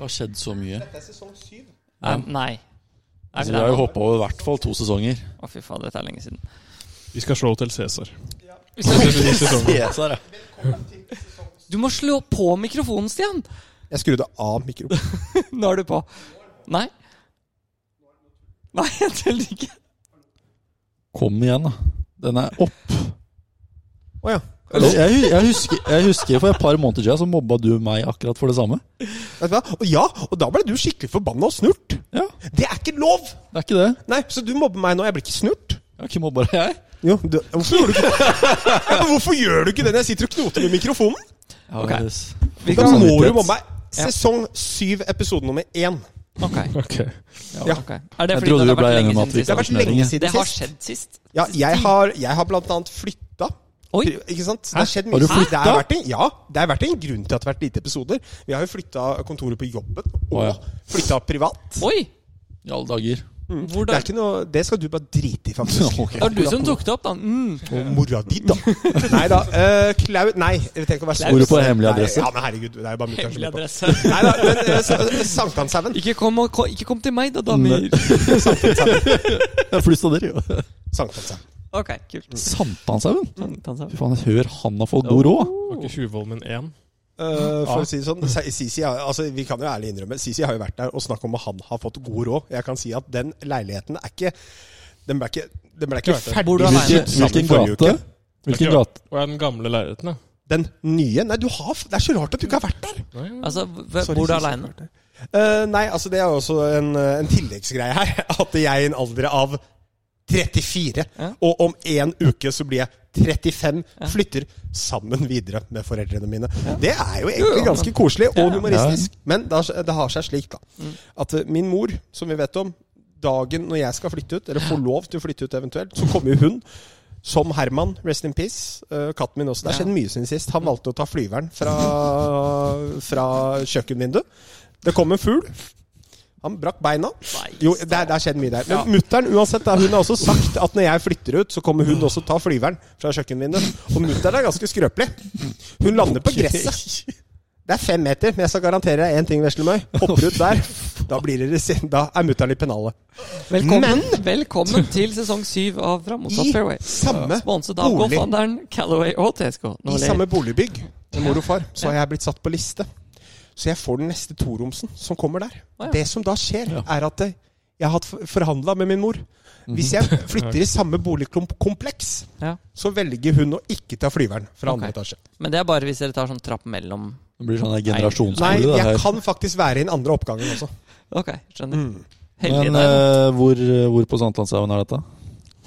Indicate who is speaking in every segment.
Speaker 1: har skjedd så mye.
Speaker 2: Dette er sesong syv.
Speaker 1: Ja.
Speaker 3: Nei. Er
Speaker 1: Altså,
Speaker 3: vi
Speaker 1: vi har
Speaker 3: der
Speaker 1: jo
Speaker 3: nå?
Speaker 1: hoppa over i hvert fall to sesonger.
Speaker 3: Å, fy fader, dette er lenge siden.
Speaker 4: Vi skal slå til Cæsar.
Speaker 3: Vi skal-
Speaker 4: I sesongen.
Speaker 1: Cæsar, ja.
Speaker 3: Du må slå på mikrofonen, Stian!
Speaker 2: Jeg skrudde av mikrofonen.
Speaker 3: Nå er du på. Nei. Nei, jeg teller ikke.
Speaker 1: Kom igjen, da. Den er opp.
Speaker 2: Å ja.
Speaker 1: Jeg, hu- jeg, husker, jeg husker for et par måneder siden så mobba du meg akkurat for det samme.
Speaker 2: Vet du hva? Og ja, og da ble du skikkelig forbanna og snurt.
Speaker 1: Ja,
Speaker 2: Det er ikke lov!
Speaker 1: det er ikke det.
Speaker 2: Nei, så du mobber meg nå. Jeg blir ikke snurt.
Speaker 1: Jeg har ikke mobba deg, jeg.
Speaker 2: Jo, du, hvorfor gjorde du ikke det? Ja, men hvorfor gjør du ikke det når jeg sitter og knoter med mikrofonen?
Speaker 1: Ja,
Speaker 3: Ok.
Speaker 1: yes.
Speaker 3: Vi
Speaker 2: Da
Speaker 1: kan-
Speaker 2: må du
Speaker 1: Samvittighet.
Speaker 2: mobbe meg. Sesong syv, episode nummer én.
Speaker 3: Ok.
Speaker 4: Ok.
Speaker 2: Ja.
Speaker 3: ok. Er det
Speaker 1: Jeg
Speaker 3: fordi
Speaker 1: trodde vi
Speaker 3: det har
Speaker 1: ble
Speaker 3: vært
Speaker 1: enige om
Speaker 3: lenge
Speaker 1: at vi ikke
Speaker 3: siden
Speaker 2: Det har
Speaker 3: sist?
Speaker 2: vært lenge siden
Speaker 3: Det har
Speaker 2: sist.
Speaker 3: skjedd sist.
Speaker 2: Ja, jeg har, jeg har blant annet flytta.
Speaker 3: Oi.
Speaker 2: Ikke sant? Det har skjedd
Speaker 1: Har
Speaker 2: mye.
Speaker 1: du
Speaker 2: siden. Det
Speaker 1: flytta?
Speaker 2: har vært en, ja, det har vært en grunn til at det har vært lite episoder. Vi har jo flytta kontoret på jobben, og
Speaker 1: Å, ja.
Speaker 2: flytta privat.
Speaker 3: Oi!
Speaker 1: I alle dager.
Speaker 2: Mm, Det, er
Speaker 3: Hvordan?
Speaker 2: ikke noe, det skal du bare drite i, faktisk.
Speaker 1: Ok.
Speaker 3: Det var du som tok det opp, da. Mm.
Speaker 2: Og mora di, da. Nei da. Uh, Klaud Nei, jeg trenger ikke å være så
Speaker 1: Bor du på hemmelig adresse?
Speaker 2: Nei, ja, men herregud, det er jo bare mutter'n som
Speaker 3: Hemmelig
Speaker 2: lurer på.
Speaker 3: adresse.
Speaker 2: Nei da, men eh, så- eh, Sankthanshaugen.
Speaker 3: Ikke kom, og, ko- ikke kom til meg, da, damer.
Speaker 1: Jeg flytta dere, jo.
Speaker 2: Sankthanshaugen.
Speaker 3: Ok, kult.
Speaker 1: Sankthanshaugen.
Speaker 2: Mm.
Speaker 3: Sånn, ta den
Speaker 1: Fy
Speaker 3: sammen.
Speaker 1: faen, hør han har fått god råd.
Speaker 4: Var ikke Tjuvholmen 1?
Speaker 2: Eh, for å si det sånn, Si- Sisi, har- altså, vi kan jo ærlig innrømme, Sisi har jo vært der og snakket om at han har fått god råd. Jeg kan si at den leiligheten er ikke Den ble ikke, den ble ikke
Speaker 4: Ikke verdt det.
Speaker 2: ferdig
Speaker 3: Hvor du har
Speaker 1: Hvilken,
Speaker 2: sydd sammen
Speaker 1: hvilken
Speaker 2: forrige
Speaker 1: gate?
Speaker 2: uke.
Speaker 1: Hvilken gate?
Speaker 4: Og er den gamle leiligheten, ja.
Speaker 2: Den nye? Nei, du har, f- det er så rart at du ikke har vært der!
Speaker 4: Nei, ja.
Speaker 3: Altså, hv-
Speaker 2: Sorry,
Speaker 3: bor du
Speaker 2: Sisi.
Speaker 3: aleine?
Speaker 2: Eh, nei, altså det er jo også en, eh, en tilleggsgreie her. At jeg i en alder av 34,
Speaker 3: Ja.
Speaker 2: og om en uke så blir jeg 35, flytter sammen videre med foreldrene mine. Det er
Speaker 3: Jo,
Speaker 2: jo
Speaker 3: jo,
Speaker 2: egentlig ganske
Speaker 3: men-
Speaker 2: koselig
Speaker 3: Ja, Mm. ja.
Speaker 2: og humoristisk. Men det har, det har seg slik, da. At eh, min mor, som vi vet om, dagen når jeg skal flytte ut, eller får lov til å flytte ut eventuelt, så kommer jo hun. Som Herman, rest in peace. eh, katten min også. Det har skjedd mye siden sist. Han valgte å ta flyveren fra, fra kjøkkenvinduet. Det kom en fugl. Han brakk beina.
Speaker 3: Nei,
Speaker 2: Jo, det, det har skjedd mye der. Men mutter'n uansett, da, hun har også sagt at når jeg flytter ut, så kommer hun også ta flyveren fra kjøkkenvinduet. Og mutter'n er ganske skrøpelig. Hun lander på gresset. Det er fem meter, men jeg skal garantere deg én ting, Veslemøy. Hopper ut der, da, blir det, sin- da er mutter'n i pennalet.
Speaker 3: Velkommen,
Speaker 2: Men-
Speaker 3: velkommen til sesong syv av Fra motsatt
Speaker 2: I
Speaker 3: fairway.
Speaker 2: samme
Speaker 3: Sponset av
Speaker 2: bolig.
Speaker 3: golfhandelen Callaway og TSK. Nå
Speaker 2: I
Speaker 3: ler-
Speaker 2: samme boligbygg med mor og far, så har jeg blitt satt på liste. Så jeg får den neste toromsen som kommer der.
Speaker 3: Å, ja.
Speaker 2: Det som da skjer, er at eh, jeg har hatt forhandla med min mor. Hvis jeg
Speaker 1: Mhm.
Speaker 2: flytter i samme boligkompleks,
Speaker 3: Ja.
Speaker 2: så velger hun å ikke ta flyveren fra andre
Speaker 3: Ok.
Speaker 2: etasje.
Speaker 3: Men det er bare hvis dere tar sånn trapp mellom
Speaker 1: Det blir sånn der
Speaker 2: Nei,
Speaker 1: generasjonsskole, det
Speaker 2: jeg
Speaker 1: her.
Speaker 2: kan faktisk være i den andre oppgangen også.
Speaker 3: Ok, skjønner.
Speaker 2: Mm.
Speaker 3: Heldig
Speaker 1: Men
Speaker 3: der.
Speaker 1: eh, hvor, hvor på Sankthanshaugen er dette?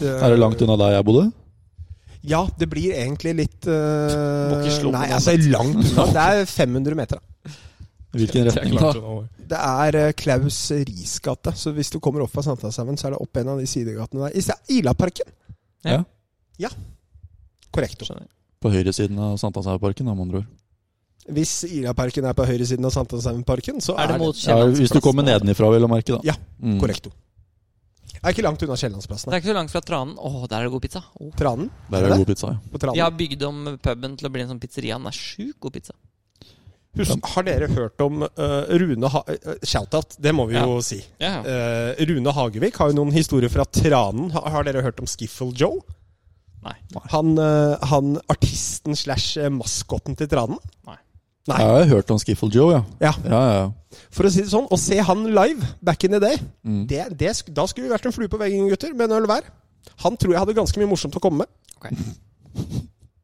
Speaker 1: Er det langt unna der jeg bodde?
Speaker 2: Ja, det blir egentlig litt eh,
Speaker 4: Må ikke slå på
Speaker 2: Nei,
Speaker 4: noen.
Speaker 2: altså langt unna. Det er 500 meter. da.
Speaker 1: Hvilken
Speaker 4: Det er
Speaker 1: retning da?
Speaker 4: klart hun har-
Speaker 2: Det er eh, Klaus Ries gate. Så hvis du kommer opp fra Sankthanshaugen, så er det opp en av de sidegatene der. I stedet- Ilaparken.
Speaker 3: Ja.
Speaker 1: Ja.
Speaker 2: Ja. Korrekt.
Speaker 3: Skjønner.
Speaker 1: På høyresiden av Sankthanshaugenparken, da, med andre ord.
Speaker 2: Hvis Ilaparken er på høyresiden av Sankthanshaugenparken, så
Speaker 3: Er det mot
Speaker 1: Ja, hvis du
Speaker 3: Kiellandsplassen?
Speaker 1: kommer nedenifra, vil jeg merke, da.
Speaker 2: Ja,
Speaker 1: Mm.
Speaker 2: Korrekto. Er ikke langt unna
Speaker 3: Det
Speaker 2: Kiellandsplassen. nei.
Speaker 3: er ikke så langt fra Tranen. Å, der er det god pizza. Å.
Speaker 2: Tranen?
Speaker 1: Der er det god pizza, ja.
Speaker 2: På Tranen.
Speaker 3: Vi har bygd om puben til å bli en sånn pizzeria. Den er sjukt god pizza.
Speaker 2: Husk, har dere hørt om eh, Rune ha eh, Shoutout, det må vi jo si.
Speaker 3: Ja, ja.
Speaker 2: Eh, Rune Hagevik har jo noen historier fra Tranen. Ha, har dere hørt om Skiffle Joe?
Speaker 3: Nei.
Speaker 2: Han, eh, han artisten slash eh, maskotten til Tranen? Nei.
Speaker 1: Jeg har hørt om Skiffle Joe, ja.
Speaker 2: Ja.
Speaker 1: Ja, ja, ja.
Speaker 2: For å si det sånn, å se han live back in the day,
Speaker 1: Mm.
Speaker 2: det, det, sk- da skulle vi vært en flue på veggen, gutter, med en øl hver. Han tror jeg hadde ganske mye morsomt å komme med.
Speaker 3: Ok.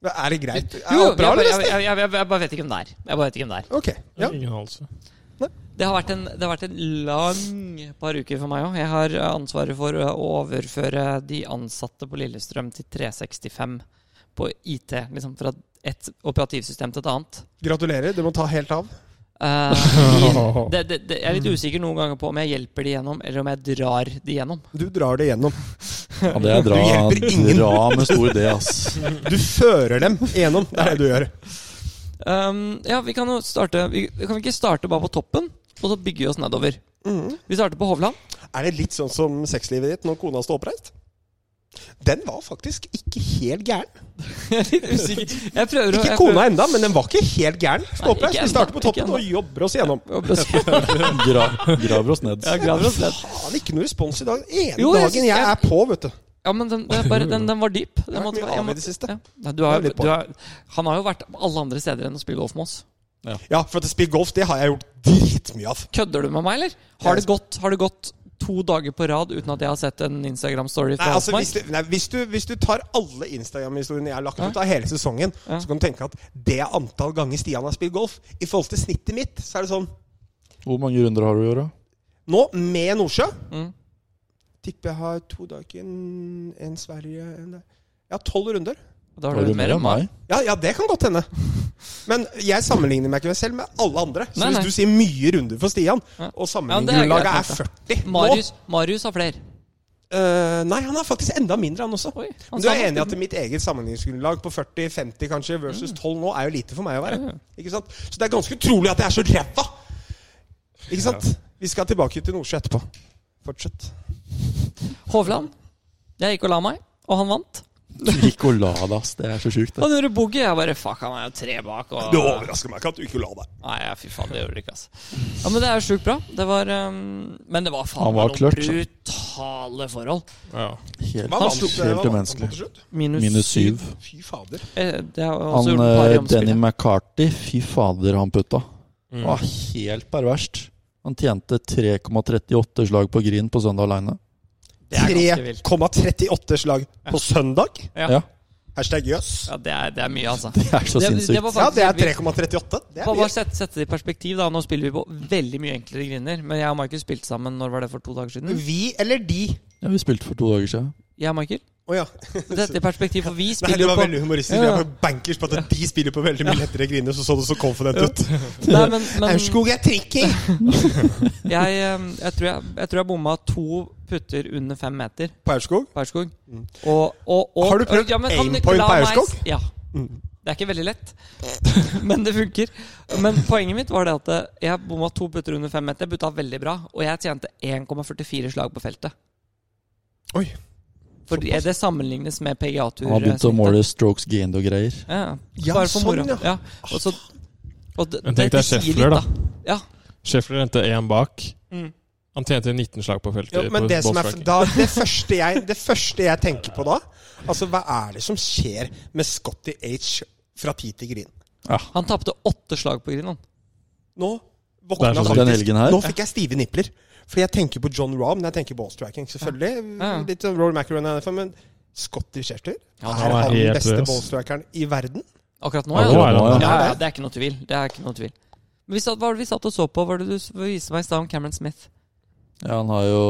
Speaker 2: Er det greit? Er
Speaker 3: Jo,
Speaker 2: alt
Speaker 3: jeg,
Speaker 2: bra, eller?
Speaker 3: jeg,
Speaker 2: Ester?
Speaker 3: jeg, jeg, jeg, jeg bare vet ikke om det er. Jeg bare vet ikke om det er.
Speaker 2: Ok. Ja.
Speaker 4: Ingen anelse.
Speaker 3: Det har vært en, det har vært en lang par uker for meg òg. Jeg har ansvaret for å overføre de ansatte på Lillestrøm til 365 på IT. Liksom fra et operativsystem til et annet.
Speaker 2: Gratulerer, det må ta helt av.
Speaker 3: Eh, det, det, det, jeg er litt usikker noen ganger på om jeg hjelper de gjennom, eller om jeg drar de gjennom.
Speaker 2: Du drar det gjennom.
Speaker 1: ja det er dra,
Speaker 2: Du hjelper ingen.
Speaker 1: dra med stor D, ass.
Speaker 2: Du fører dem gjennom. Det er det du gjør.
Speaker 3: Um, ja, vi kan jo starte vi, Kan vi ikke starte bare på toppen, og så bygge oss
Speaker 2: Mm.
Speaker 3: nedover? Vi starter på Hovland.
Speaker 2: Er det litt sånn som sexlivet ditt når kona står oppreist? Den var faktisk ikke helt gæren.
Speaker 3: Jeg er litt usikker. Jeg prøver å
Speaker 2: Ikke
Speaker 3: jeg prøver-
Speaker 2: kona enda, men den var ikke helt gæren. skal jeg
Speaker 3: Nei,
Speaker 2: håpe.
Speaker 3: ikke
Speaker 2: Vi starter
Speaker 3: ennå,
Speaker 2: på
Speaker 3: ikke
Speaker 2: toppen
Speaker 3: ennå.
Speaker 2: og jobber oss gjennom.
Speaker 1: Gra, graver oss ned.
Speaker 3: Jeg graver oss ned.
Speaker 2: Faen, ikke noe respons i dag. Ene
Speaker 3: Jo, jeg
Speaker 2: dagen
Speaker 3: synes-
Speaker 2: jeg er på, vet du.
Speaker 3: Ja, men den, den, er bare, den, den var dyp. Den
Speaker 2: Jeg har
Speaker 3: måtte
Speaker 2: vært mye
Speaker 3: være- jeg
Speaker 2: av i det
Speaker 3: måtte-
Speaker 2: siste.
Speaker 3: ja. Nei, Du har,
Speaker 2: Jeg er litt på
Speaker 3: du har, han har jo vært alle andre steder enn å spille golf med oss.
Speaker 2: Ja, for at spill golf, det har jeg gjort dritmye av.
Speaker 3: Kødder du med meg, eller? Har det gått, har det gått to dager på rad uten at jeg har sett en Instagram-story
Speaker 2: Nei,
Speaker 3: fra
Speaker 2: altså, hvis,
Speaker 3: Hofmark?
Speaker 2: du, nei, hvis, du, hvis du tar alle Instagram-historiene jeg har lagt ut av hele sesongen,
Speaker 3: Ja.
Speaker 2: så kan du tenke at det antall ganger Stian har spilt golf I forhold til snittet mitt, så er det sånn
Speaker 1: Hvor mange runder har du i år, da?
Speaker 2: Nå, med Nordsjø
Speaker 3: Mm.
Speaker 2: Tipper jeg har to dager En Sverige en der. Ja, tolv runder.
Speaker 3: Da har du mer enn meg.
Speaker 2: Ja, ja, det kan godt hende. Men jeg sammenligner meg ikke med selv med alle andre. Så
Speaker 3: Nei, nei.
Speaker 2: hvis du sier mye runder for Stian,
Speaker 3: Ja.
Speaker 2: og
Speaker 3: Ja, det
Speaker 2: sammenligningsgrunnlaget
Speaker 3: er
Speaker 2: er,
Speaker 3: greit,
Speaker 2: 40 nå
Speaker 3: Marius, Marius har flere.
Speaker 2: Eh, Nei, han er faktisk enda mindre, han også.
Speaker 3: Oi, han
Speaker 2: Men du
Speaker 3: sa
Speaker 2: er
Speaker 3: han
Speaker 2: enig i at
Speaker 3: skulle-
Speaker 2: mitt eget sammenligningsgrunnlag på 40-50 kanskje versus
Speaker 3: Mm.
Speaker 2: 12 nå er jo lite for meg å være. Ikke sant? Så det er ganske utrolig at jeg er så ræva! Ikke sant? Vi skal tilbake til Nordsjø etterpå. Fortsett.
Speaker 3: Hovland. Jeg gikk og la meg, og han vant.
Speaker 1: Du gikk og la deg, ass. Det er så sjukt. det.
Speaker 3: Han gjorde boogie. Jeg bare fuck, han er jo tre bak. Og...
Speaker 2: Det overrasker meg ikke at du ikke la deg.
Speaker 3: Nei, ja, fy faen, det gjorde det ikke, altså. Ja, Men det er jo sjukt bra. Det var ehm, Men det var faen
Speaker 1: Han var
Speaker 3: meg noen
Speaker 1: clutch, da.
Speaker 3: brutale forhold.
Speaker 4: Ja.
Speaker 1: Helt,
Speaker 2: Hva vant du- hva
Speaker 1: helt
Speaker 2: vant
Speaker 1: umenneskelig.
Speaker 2: han på til slutt?
Speaker 3: Minus,
Speaker 1: Minus syv.
Speaker 2: Fy fader.
Speaker 3: Eh, Det har også
Speaker 1: Han
Speaker 3: gjort et par i
Speaker 1: eh,
Speaker 3: omspillet.
Speaker 1: Denny McCarthy, fy fader, han putta.
Speaker 3: Mm.
Speaker 1: Det var helt perverst. Han tjente 3,38 slag på green på søndag aleine.
Speaker 3: Det er ganske vilt.
Speaker 2: 3,38 slag på søndag?
Speaker 3: Ja.
Speaker 1: Ja.
Speaker 2: Hashtag jøss.
Speaker 3: Ja, det er, det er mye, altså.
Speaker 1: Det er så
Speaker 3: Det- det
Speaker 1: sinnssykt.
Speaker 3: var
Speaker 2: Ja,
Speaker 3: faktisk
Speaker 2: det er
Speaker 3: helt vilt.
Speaker 2: 3,38. Det er
Speaker 3: Bare
Speaker 2: mye.
Speaker 3: bare sette, sette det i perspektiv, da. Nå spiller vi på veldig mye enklere griner. Men jeg og Michael spilte sammen når var det for to dager siden?
Speaker 2: Vi eller de?
Speaker 1: Ja, vi spilte for to dager siden.
Speaker 3: Jeg og Michael?
Speaker 2: Å ja.
Speaker 3: Dette i perspektiv, for vi
Speaker 2: Nei,
Speaker 3: spiller
Speaker 2: det
Speaker 3: jo
Speaker 2: var
Speaker 3: på
Speaker 2: veldig humoristisk.
Speaker 3: Ja,
Speaker 2: Jeg
Speaker 3: ja.
Speaker 2: var bankers på at de spiller på veldig mye lettere griner, så så du så confident ut.
Speaker 3: Nei, men, men jeg,
Speaker 2: Aurskog er tricky!
Speaker 3: eh, jeg, tror jeg, jeg tror jeg bomma to putter under fem meter
Speaker 2: På Aurskog?
Speaker 3: på Aurskog. Og, og, og,
Speaker 2: Mm. Har du prøvd
Speaker 3: men kan
Speaker 2: aim
Speaker 3: du-
Speaker 2: point
Speaker 3: la
Speaker 2: på
Speaker 3: meg-
Speaker 2: Aurskog? Mm.
Speaker 3: Ja. Det er ikke veldig lett, men det funker. Men poenget mitt var det at eh, jeg bomma to putter under fem meter. Jeg butta veldig bra, og jeg tjente 1,44 slag på feltet.
Speaker 2: Oi.
Speaker 3: For det det sammenlignes med PGA-tur.
Speaker 1: Han har begynt å måle strokes gained og greier.
Speaker 3: eh, Ja,
Speaker 2: Ja,
Speaker 3: bare for
Speaker 2: sånn,
Speaker 3: moro.
Speaker 2: ja.
Speaker 3: Ja. Og så, og det,
Speaker 4: Men tenk deg
Speaker 3: sier
Speaker 4: Scheffler,
Speaker 3: litt, Ja.
Speaker 4: Schäffler endte én bak.
Speaker 3: Mm.
Speaker 4: Han tjente 19 slag på feltet.
Speaker 2: Ja, men
Speaker 4: på
Speaker 2: det, som er,
Speaker 4: ballstrike.
Speaker 2: da, det, første jeg, det første jeg tenker på da Altså, hva er det som skjer med Scotty H fra ti til grin?
Speaker 3: Han tapte åtte slag på grinen.
Speaker 2: Nå
Speaker 4: Det er så
Speaker 2: våkna
Speaker 1: sant. Den
Speaker 2: faktisk
Speaker 1: helgen her.
Speaker 2: Nå fikk jeg stive nipler. Fordi jeg tenker på John Rahm når jeg tenker ballstriking. Selvfølgelig.
Speaker 3: Ja.
Speaker 2: Litt sånn Rory McIlroy er derfor, men Scotty Scherter?
Speaker 4: han
Speaker 2: er
Speaker 4: er
Speaker 2: han den
Speaker 4: helt
Speaker 2: beste
Speaker 4: løs.
Speaker 2: ballstrikeren i verden?
Speaker 3: Akkurat nå,
Speaker 4: Ja,
Speaker 1: Akkurat
Speaker 4: er det
Speaker 1: nå,
Speaker 4: det.
Speaker 3: Ja,
Speaker 2: er
Speaker 3: ja,
Speaker 2: det.
Speaker 3: det er ikke noe tvil. Det er ikke noe tvil. Men vi satt, hva var det vi satt og så på? Hva var det du s- viste meg i stad om Cameron Smith?
Speaker 1: Ja, han har jo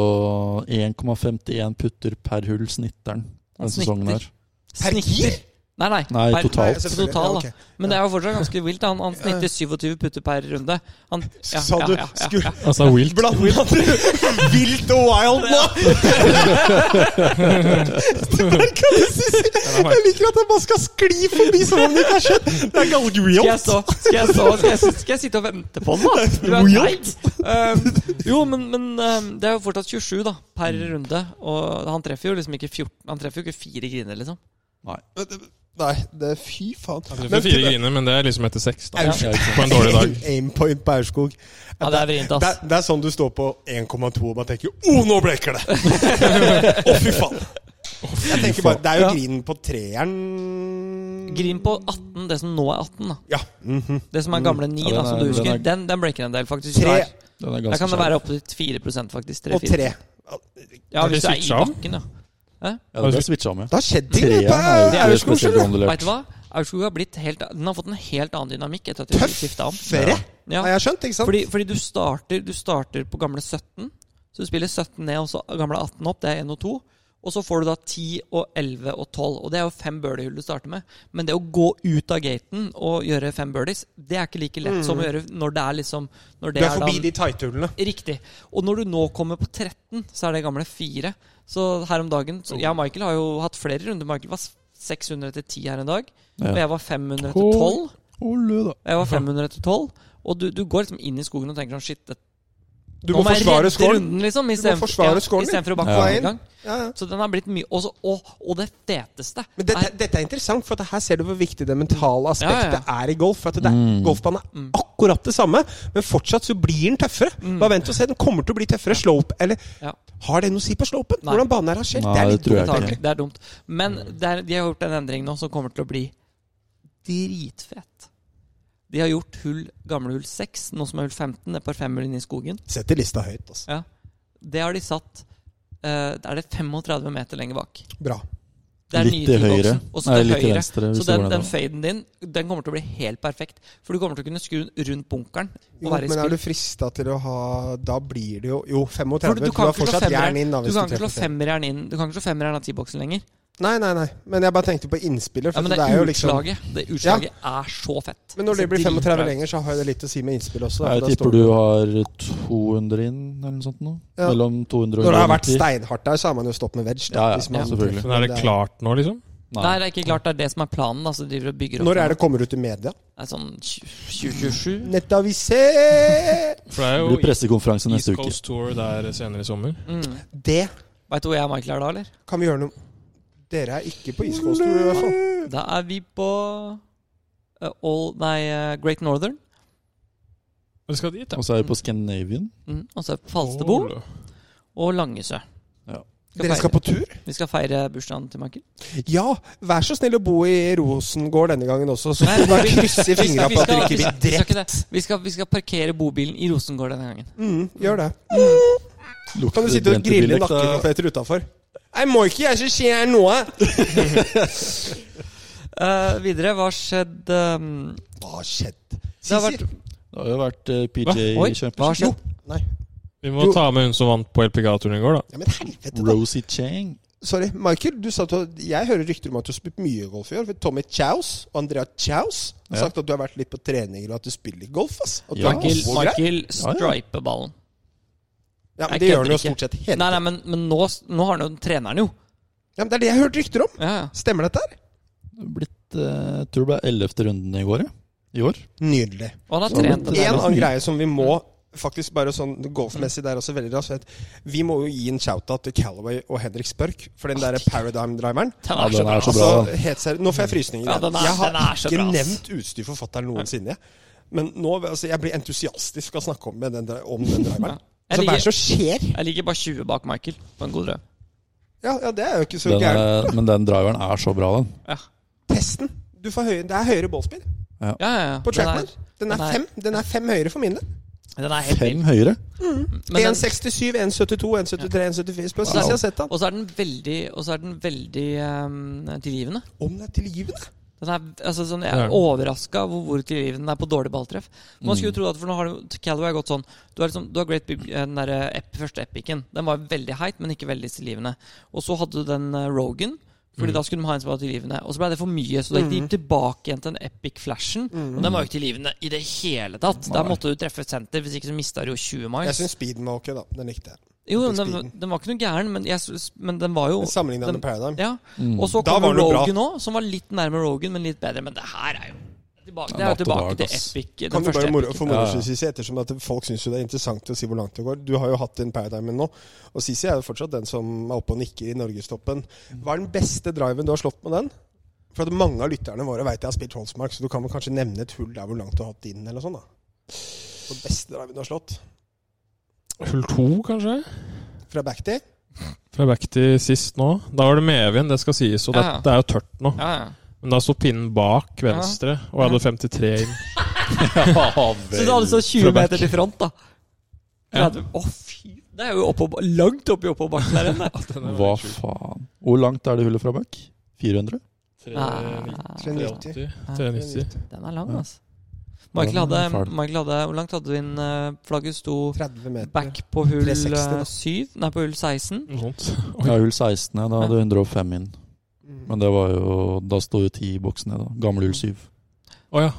Speaker 1: 1,51 putter per hull, snitteren,
Speaker 3: Han
Speaker 1: den sesongen her.
Speaker 2: Per keer?
Speaker 3: Nei, nei.
Speaker 1: Nei,
Speaker 3: per,
Speaker 1: totalt.
Speaker 2: Nei, selvfølgelig.
Speaker 3: total, da.
Speaker 2: Ja, ok.
Speaker 3: Men det er jo fortsatt ganske vilt. da. Han, han snitter 27 putter per runde. Han, ja,
Speaker 2: Sa
Speaker 3: ja,
Speaker 2: du
Speaker 3: ja, ja.
Speaker 2: skulle
Speaker 4: Altså, Wilt
Speaker 2: Blanda du vilt og wild nå? Det der kan du si. Jeg liker at jeg bare skal skli forbi som om det ikke har skjedd. Det er ganske
Speaker 3: Skal jeg
Speaker 2: real.
Speaker 3: stå, skal jeg, stå skal, jeg, skal jeg sitte og vente på den, da? Du er nei. Um, jo, men, men um, det er jo fortsatt 27 da per runde. Og han treffer jo liksom ikke 14 Han treffer jo ikke fire griner, liksom.
Speaker 2: Nei, det er fy faen.
Speaker 4: Han treffer fire griner, men det er liksom etter seks. da
Speaker 2: Ja.
Speaker 4: På en dårlig dag.
Speaker 2: Aimpoint på Aurskog.
Speaker 3: Ja, det er vrient,
Speaker 2: Det,
Speaker 3: ass.
Speaker 2: er- det er sånn du står på 1,2 og bare tenker 'Å, oh, nå blekker det!' Å, fy faen. Jeg tenker bare, Det er jo
Speaker 3: Ja.
Speaker 2: grinen på treeren
Speaker 3: Grin på 18, det som nå er 18. da
Speaker 2: Ja. mhm.
Speaker 3: Det som er gamle 9,
Speaker 1: Ja, den
Speaker 3: da, som
Speaker 1: er-
Speaker 3: du
Speaker 1: den
Speaker 3: husker.
Speaker 1: er-
Speaker 3: Den, den breaker en del, faktisk.
Speaker 2: Tre.
Speaker 3: Der,
Speaker 1: Den er
Speaker 3: der
Speaker 1: ganske
Speaker 3: kan det
Speaker 1: skjær.
Speaker 3: være opptil 4 faktisk.
Speaker 2: altså- Og
Speaker 3: 3-4.
Speaker 2: tre.
Speaker 3: Ja,
Speaker 4: Er
Speaker 3: hvis
Speaker 4: det
Speaker 3: du er i
Speaker 4: switcha om?
Speaker 3: bakken, ja.
Speaker 1: Ja, det ble switcha med.
Speaker 2: Det har skjedd ting
Speaker 1: Treeren
Speaker 2: det, på
Speaker 1: er jo ikke det
Speaker 2: Aurskog.
Speaker 1: spesielt
Speaker 2: skjønner du.
Speaker 3: Vet
Speaker 1: håndlert.
Speaker 3: du hva? Aurskog har blitt helt Den har fått en helt annen dynamikk etter at de skifta om.
Speaker 2: Fere,
Speaker 3: Ja.
Speaker 2: har jeg skjønt. ikke sant?
Speaker 3: Fordi, fordi du, starter, du starter på gamle 17, så du spiller 17 ned og så gamle 18 opp. Det er 1 og 2. Og så får du da 10 og 11 og 12. Og det er jo fem birdiehull du starter med. Men det å gå ut av gaten og gjøre fem birdies, det er ikke like lett som å gjøre når det er liksom når
Speaker 2: Mm. Du
Speaker 3: det
Speaker 2: er forbi
Speaker 3: da-
Speaker 2: de tight-hullene.
Speaker 3: Riktig. Og når du nå kommer på 13, så er det gamle 4. Så her om dagen så, Jeg og Michael har jo hatt flere runder. Michael var 600 etter 10 her en dag.
Speaker 1: Ja.
Speaker 3: Og jeg var 500 etter 12.
Speaker 1: Ole, da.
Speaker 3: Jeg var 500 etter 12. Og du, du går liksom inn i skogen og tenker sånn Shit, det,
Speaker 2: Du må
Speaker 3: Nå jeg
Speaker 2: forsvare
Speaker 3: redde
Speaker 2: scoren.
Speaker 3: runden, liksom, i
Speaker 2: Du må
Speaker 3: stedet-
Speaker 2: forsvare
Speaker 3: ja,
Speaker 2: scoren din.
Speaker 3: istedenfor å
Speaker 2: Ja.
Speaker 3: banke hver gang.
Speaker 2: Ja, ja.
Speaker 3: Så den har blitt mye også, og, og det feteste
Speaker 2: Men dette,
Speaker 3: er
Speaker 2: dette er interessant, for at her ser du hvor viktig det mentale aspektet
Speaker 3: Ja, Mm.
Speaker 2: er i golf. For at det er,
Speaker 1: Mm.
Speaker 2: Golfbanen er akkurat det samme, men fortsatt så blir den tøffere. Bare vent og se, den kommer til å bli tøffere. Slope, eller
Speaker 3: Ja.
Speaker 2: Har det noe å si på slopen?
Speaker 3: Nei.
Speaker 2: Hvordan banen er rangert? Det
Speaker 1: Nei,
Speaker 2: er
Speaker 1: det
Speaker 2: litt
Speaker 1: tror jeg
Speaker 2: dumt,
Speaker 1: ikke. Mm.
Speaker 2: egentlig.
Speaker 3: Det er dumt. Men det er, de har gjort en endring nå som kommer til å bli dritfett. De har gjort hull, gamle hull 6, nå som er hull 15, det er par femmer inne i skogen.
Speaker 2: Setter lista høyt, altså.
Speaker 3: Ja. Det har de satt eh, Da er det 35 meter lenger bak.
Speaker 2: Bra.
Speaker 3: Det er
Speaker 1: Litt til
Speaker 3: nye
Speaker 1: høyre.
Speaker 3: tee-boksen, og så
Speaker 1: Nei,
Speaker 3: til
Speaker 1: litt til
Speaker 3: høyre.
Speaker 1: venstre.
Speaker 3: Så
Speaker 1: hvis det går
Speaker 3: den, den
Speaker 1: nedover.
Speaker 3: faden din Den kommer til å bli helt perfekt. For du kommer til å kunne skru den rundt bunkeren. Og
Speaker 2: Jo,
Speaker 3: være i
Speaker 2: men er
Speaker 3: skudd.
Speaker 2: du frista til å ha Da blir det jo Jo, 35.
Speaker 3: For
Speaker 2: Du,
Speaker 3: du, du kan
Speaker 2: har
Speaker 3: ikke slå
Speaker 2: fortsatt jern inn,
Speaker 3: femmeren
Speaker 2: da.
Speaker 3: Du
Speaker 2: Hvis
Speaker 3: kan ikke slå
Speaker 2: treffer fem.
Speaker 3: femmeren inn Du kan ikke slå femmeren av T-boksen lenger.
Speaker 2: Nei, nei, nei. Men jeg bare tenkte på innspillet.
Speaker 3: Ja,
Speaker 2: For
Speaker 3: men
Speaker 2: det,
Speaker 3: det,
Speaker 2: er jo liksom
Speaker 3: utslaget Det utslaget er så fett.
Speaker 2: Men når det
Speaker 3: ser
Speaker 2: blir 35
Speaker 3: dritbra ut.
Speaker 2: lenger, så har jo det litt å si med innspillet også. da, for
Speaker 1: Jeg
Speaker 2: da står
Speaker 1: tipper
Speaker 2: det-
Speaker 1: du har 200 inn, eller noe sånt nå.
Speaker 2: Ja.
Speaker 1: Mellom 200 og
Speaker 2: Når det har vært
Speaker 1: 190.
Speaker 2: steinhardt der, så har man jo stått med wedge. Da,
Speaker 1: Ja, ja,
Speaker 2: hvis man
Speaker 1: ja, selvfølgelig.
Speaker 2: treffer.
Speaker 4: Men er det klart nå, liksom?
Speaker 3: Nei, det er ikke klart det er det som er planen. da, så de driver og bygger opp
Speaker 2: Når er
Speaker 3: den.
Speaker 2: det kommer ut i media?
Speaker 3: Det er sånn 2027?
Speaker 2: Nettaviser!
Speaker 4: For det er
Speaker 1: Det blir
Speaker 4: jo
Speaker 1: pressekonferanse
Speaker 4: East
Speaker 1: neste uke.
Speaker 4: Coast Tour der senere i sommer.
Speaker 3: Mm.
Speaker 2: Det
Speaker 3: Veit du hvor jeg og Michael er da, eller?
Speaker 2: kan vi gjøre noe Dere er ikke på East Coast Tour, i hvert fall.
Speaker 3: Da er vi på eh, All, nei, eh, Great Northern.
Speaker 4: Vi skal dit, da.
Speaker 1: Og så er vi på Scandinavian.
Speaker 3: Mm. Og så er det Falsterbo
Speaker 4: Ål.
Speaker 3: og Langesø.
Speaker 1: Ja.
Speaker 2: Dere skal på tur?
Speaker 3: Vi skal feire bursdagen til Michael.
Speaker 2: Ja! Vær så snill å bo i Rosengård denne gangen også, så
Speaker 3: Nei,
Speaker 2: kan du bare
Speaker 3: vi-
Speaker 2: krysse
Speaker 3: vi
Speaker 2: fingra
Speaker 3: skal- vi
Speaker 2: på at dere
Speaker 3: skal- vi
Speaker 2: ikke blir
Speaker 3: skal- vi skal
Speaker 2: drept.
Speaker 3: ikke det. Vi skal, vi skal parkere bobilen i Rosengård denne gangen.
Speaker 2: Mm, gjør det. Kan du sitte og grille nakkekoteletter utafor? Nei, må ikke jeg så skjer jeg noe!
Speaker 3: Eh, videre, hva skjedde um,
Speaker 2: Hva har skjedd?
Speaker 3: Det har
Speaker 2: Sisir?
Speaker 3: vært
Speaker 1: Det har jo vært eh,
Speaker 3: Oi,
Speaker 1: PJ
Speaker 3: hva har
Speaker 1: Championship.
Speaker 2: Jo.
Speaker 3: skjedd?
Speaker 2: Nei.
Speaker 4: Vi må ta med hun som vant på LPGA-turen i går, da.
Speaker 2: Ja, men helvete, da.
Speaker 1: Rosie Chang.
Speaker 2: Sorry, Michael, du sa at du, jeg hører rykter om at du har spilt mye golf i år. For Tommy Chaus og Andrea Chaus har
Speaker 1: Ja.
Speaker 2: sagt at du har vært litt på treninger og at du spiller litt golf. ass. At du
Speaker 1: Ja.
Speaker 2: er
Speaker 3: Michael,
Speaker 2: god og grei.
Speaker 3: Michael
Speaker 1: Ja, ja.
Speaker 3: striper ballen.
Speaker 2: Ja, men
Speaker 3: jeg
Speaker 2: Det gjør han jo
Speaker 3: kødder ikke.
Speaker 2: stort sett hele
Speaker 3: Nei, nei,
Speaker 2: tiden.
Speaker 3: men, men nå, nå har han jo treneren, jo.
Speaker 2: Ja, men Det er det jeg har hørt rykter om.
Speaker 3: Ja, ja.
Speaker 2: Stemmer dette her?
Speaker 1: Blitt, eh, jeg tror det ble ellevte runden i går. ja. I år.
Speaker 2: Nydelig.
Speaker 3: Og han har
Speaker 1: Så har
Speaker 3: trent
Speaker 1: det
Speaker 3: en
Speaker 1: blitt
Speaker 3: del.
Speaker 2: En
Speaker 1: nesten
Speaker 2: annen
Speaker 1: mye.
Speaker 2: greie som vi må faktisk bare sånn golfmessig der også veldig raskt vet, Vi må jo gi en shout-out til Callaway og Henrik Spørk for den derre Paradigm-driveren.
Speaker 3: Den
Speaker 1: Ja,
Speaker 3: er så
Speaker 1: den
Speaker 3: bra.
Speaker 1: er så bra.
Speaker 2: Altså,
Speaker 1: da.
Speaker 2: helt seriøst, nå får jeg frysninger.
Speaker 3: Ja, den er-
Speaker 2: jeg har
Speaker 3: den er så
Speaker 2: ikke
Speaker 3: bra, ass.
Speaker 2: nevnt utstyrforfatteren noensinne. jeg. Men nå, altså, jeg blir entusiastisk av å snakke om med den, dri- om den driveren.
Speaker 3: Jeg
Speaker 2: Altså, hva er
Speaker 3: ligger-
Speaker 2: det som skjer?
Speaker 3: Jeg ligger bare 20 bak Michael på en god drøm.
Speaker 2: Ja, ja, det er jo ikke så
Speaker 1: Den
Speaker 2: gærent.
Speaker 1: er, men den driveren er så bra, den.
Speaker 3: Ja,
Speaker 2: Testen. Du får høyere, det er høyere ballspill
Speaker 3: ja, ja. ja.
Speaker 2: på trackman. Den er,
Speaker 3: den er-
Speaker 2: fem, den er fem høyere for min del.
Speaker 3: Den er helt vill.
Speaker 1: Fem høyere.
Speaker 3: Men den-
Speaker 2: 1,67, 1,72, 1,73, 1,74. Spør sist jeg har sett den.
Speaker 3: Og så er den veldig, og så er den veldig ehm, tilgivende.
Speaker 2: Om det er tilgivende?
Speaker 3: Den er, altså, sånn, jeg
Speaker 4: Ja.
Speaker 3: er overraska hvor, hvor tilgivende den er på dårlig balltreff. Man skulle jo tro at For nå har du- Callaway har gått sånn Du har, liksom, du har Great Big eh, Den der, eh, ep, første epicen. Den var veldig heit, men ikke veldig tilgivende. Og så hadde du den eh, Rogan. Fordi da skulle de ha en som var tilgivende. Og så ble det for mye, så da gikk de tilbake igjen til den epic-flashen. Og den var jo ikke tilgivende i det hele tatt. Der måtte du treffe et senter, hvis ikke så mista du jo 20 miles.
Speaker 2: Jeg syns speeden var ok, da. Den likte jeg.
Speaker 3: Jo,
Speaker 2: Fikk
Speaker 3: den,
Speaker 2: speeden.
Speaker 3: den var ikke noe gæren, men, jeg, synes- men den var jo
Speaker 2: Men Sammenlignet
Speaker 3: den-
Speaker 2: med Paradigm.
Speaker 3: Ja. Og så
Speaker 2: Da
Speaker 3: kom
Speaker 2: var det bra.
Speaker 3: Rogan òg, som var litt nærme Rogan, men litt bedre. Men det her er jo tilbake, det er jo
Speaker 1: natt og
Speaker 3: tilbake
Speaker 1: dag,
Speaker 3: til
Speaker 1: ass.
Speaker 3: Epic. Den
Speaker 2: Kan du
Speaker 3: første
Speaker 2: bare moro,
Speaker 3: Epic.
Speaker 2: for moro
Speaker 1: Ja, ja.
Speaker 2: skyld, Sisi, ettersom at folk syns det er interessant å si hvor langt det går. Du har jo hatt din paradigm nå, og Sisi er jo fortsatt den som er oppe og nikker i norgestoppen. Hva er den beste driven du har slått med den? For at mange av lytterne våre veit jeg har spilt Holsmark, så du kan vel kanskje nevne et hull der hvor langt du har hatt inn, eller noe sånt, da. Den beste driven du har slått?
Speaker 4: Hull to, kanskje?
Speaker 2: Fra backtee?
Speaker 4: Fra back til sist nå. Da var det medvind, det skal sies. Og det,
Speaker 3: Ja.
Speaker 4: det er jo tørt nå.
Speaker 3: Ja, ja.
Speaker 4: Men da sto pinnen bak venstre, og jeg hadde 53 inn.
Speaker 3: Så det er altså 20
Speaker 4: Fra back.
Speaker 3: meter til front, da.
Speaker 4: Ja.
Speaker 3: 30. Å, fy! Det er jo oppå, langt oppi oppoverbakken der igjen. det.
Speaker 1: Hva faen. Hvor langt er det hullet fra bak? 400?
Speaker 2: Nei.
Speaker 4: 390. 390.
Speaker 3: Den er lang,
Speaker 1: Ja.
Speaker 3: altså. Michael
Speaker 1: Den er
Speaker 3: hadde,
Speaker 1: fæl.
Speaker 3: Michael hadde Hvor langt hadde du inn? eh, Flagget sto
Speaker 2: 30 meter.
Speaker 3: back på hull
Speaker 2: 360 da.
Speaker 3: eh, 7, nei, på hull 16.
Speaker 4: Noe sånt.
Speaker 1: Ja, hull 16, ja. Da hadde 105 inn.
Speaker 2: Mm.
Speaker 1: Men det var jo Da sto jo 10 i boksen nede. da. Gammel hull 7.
Speaker 4: Å ja.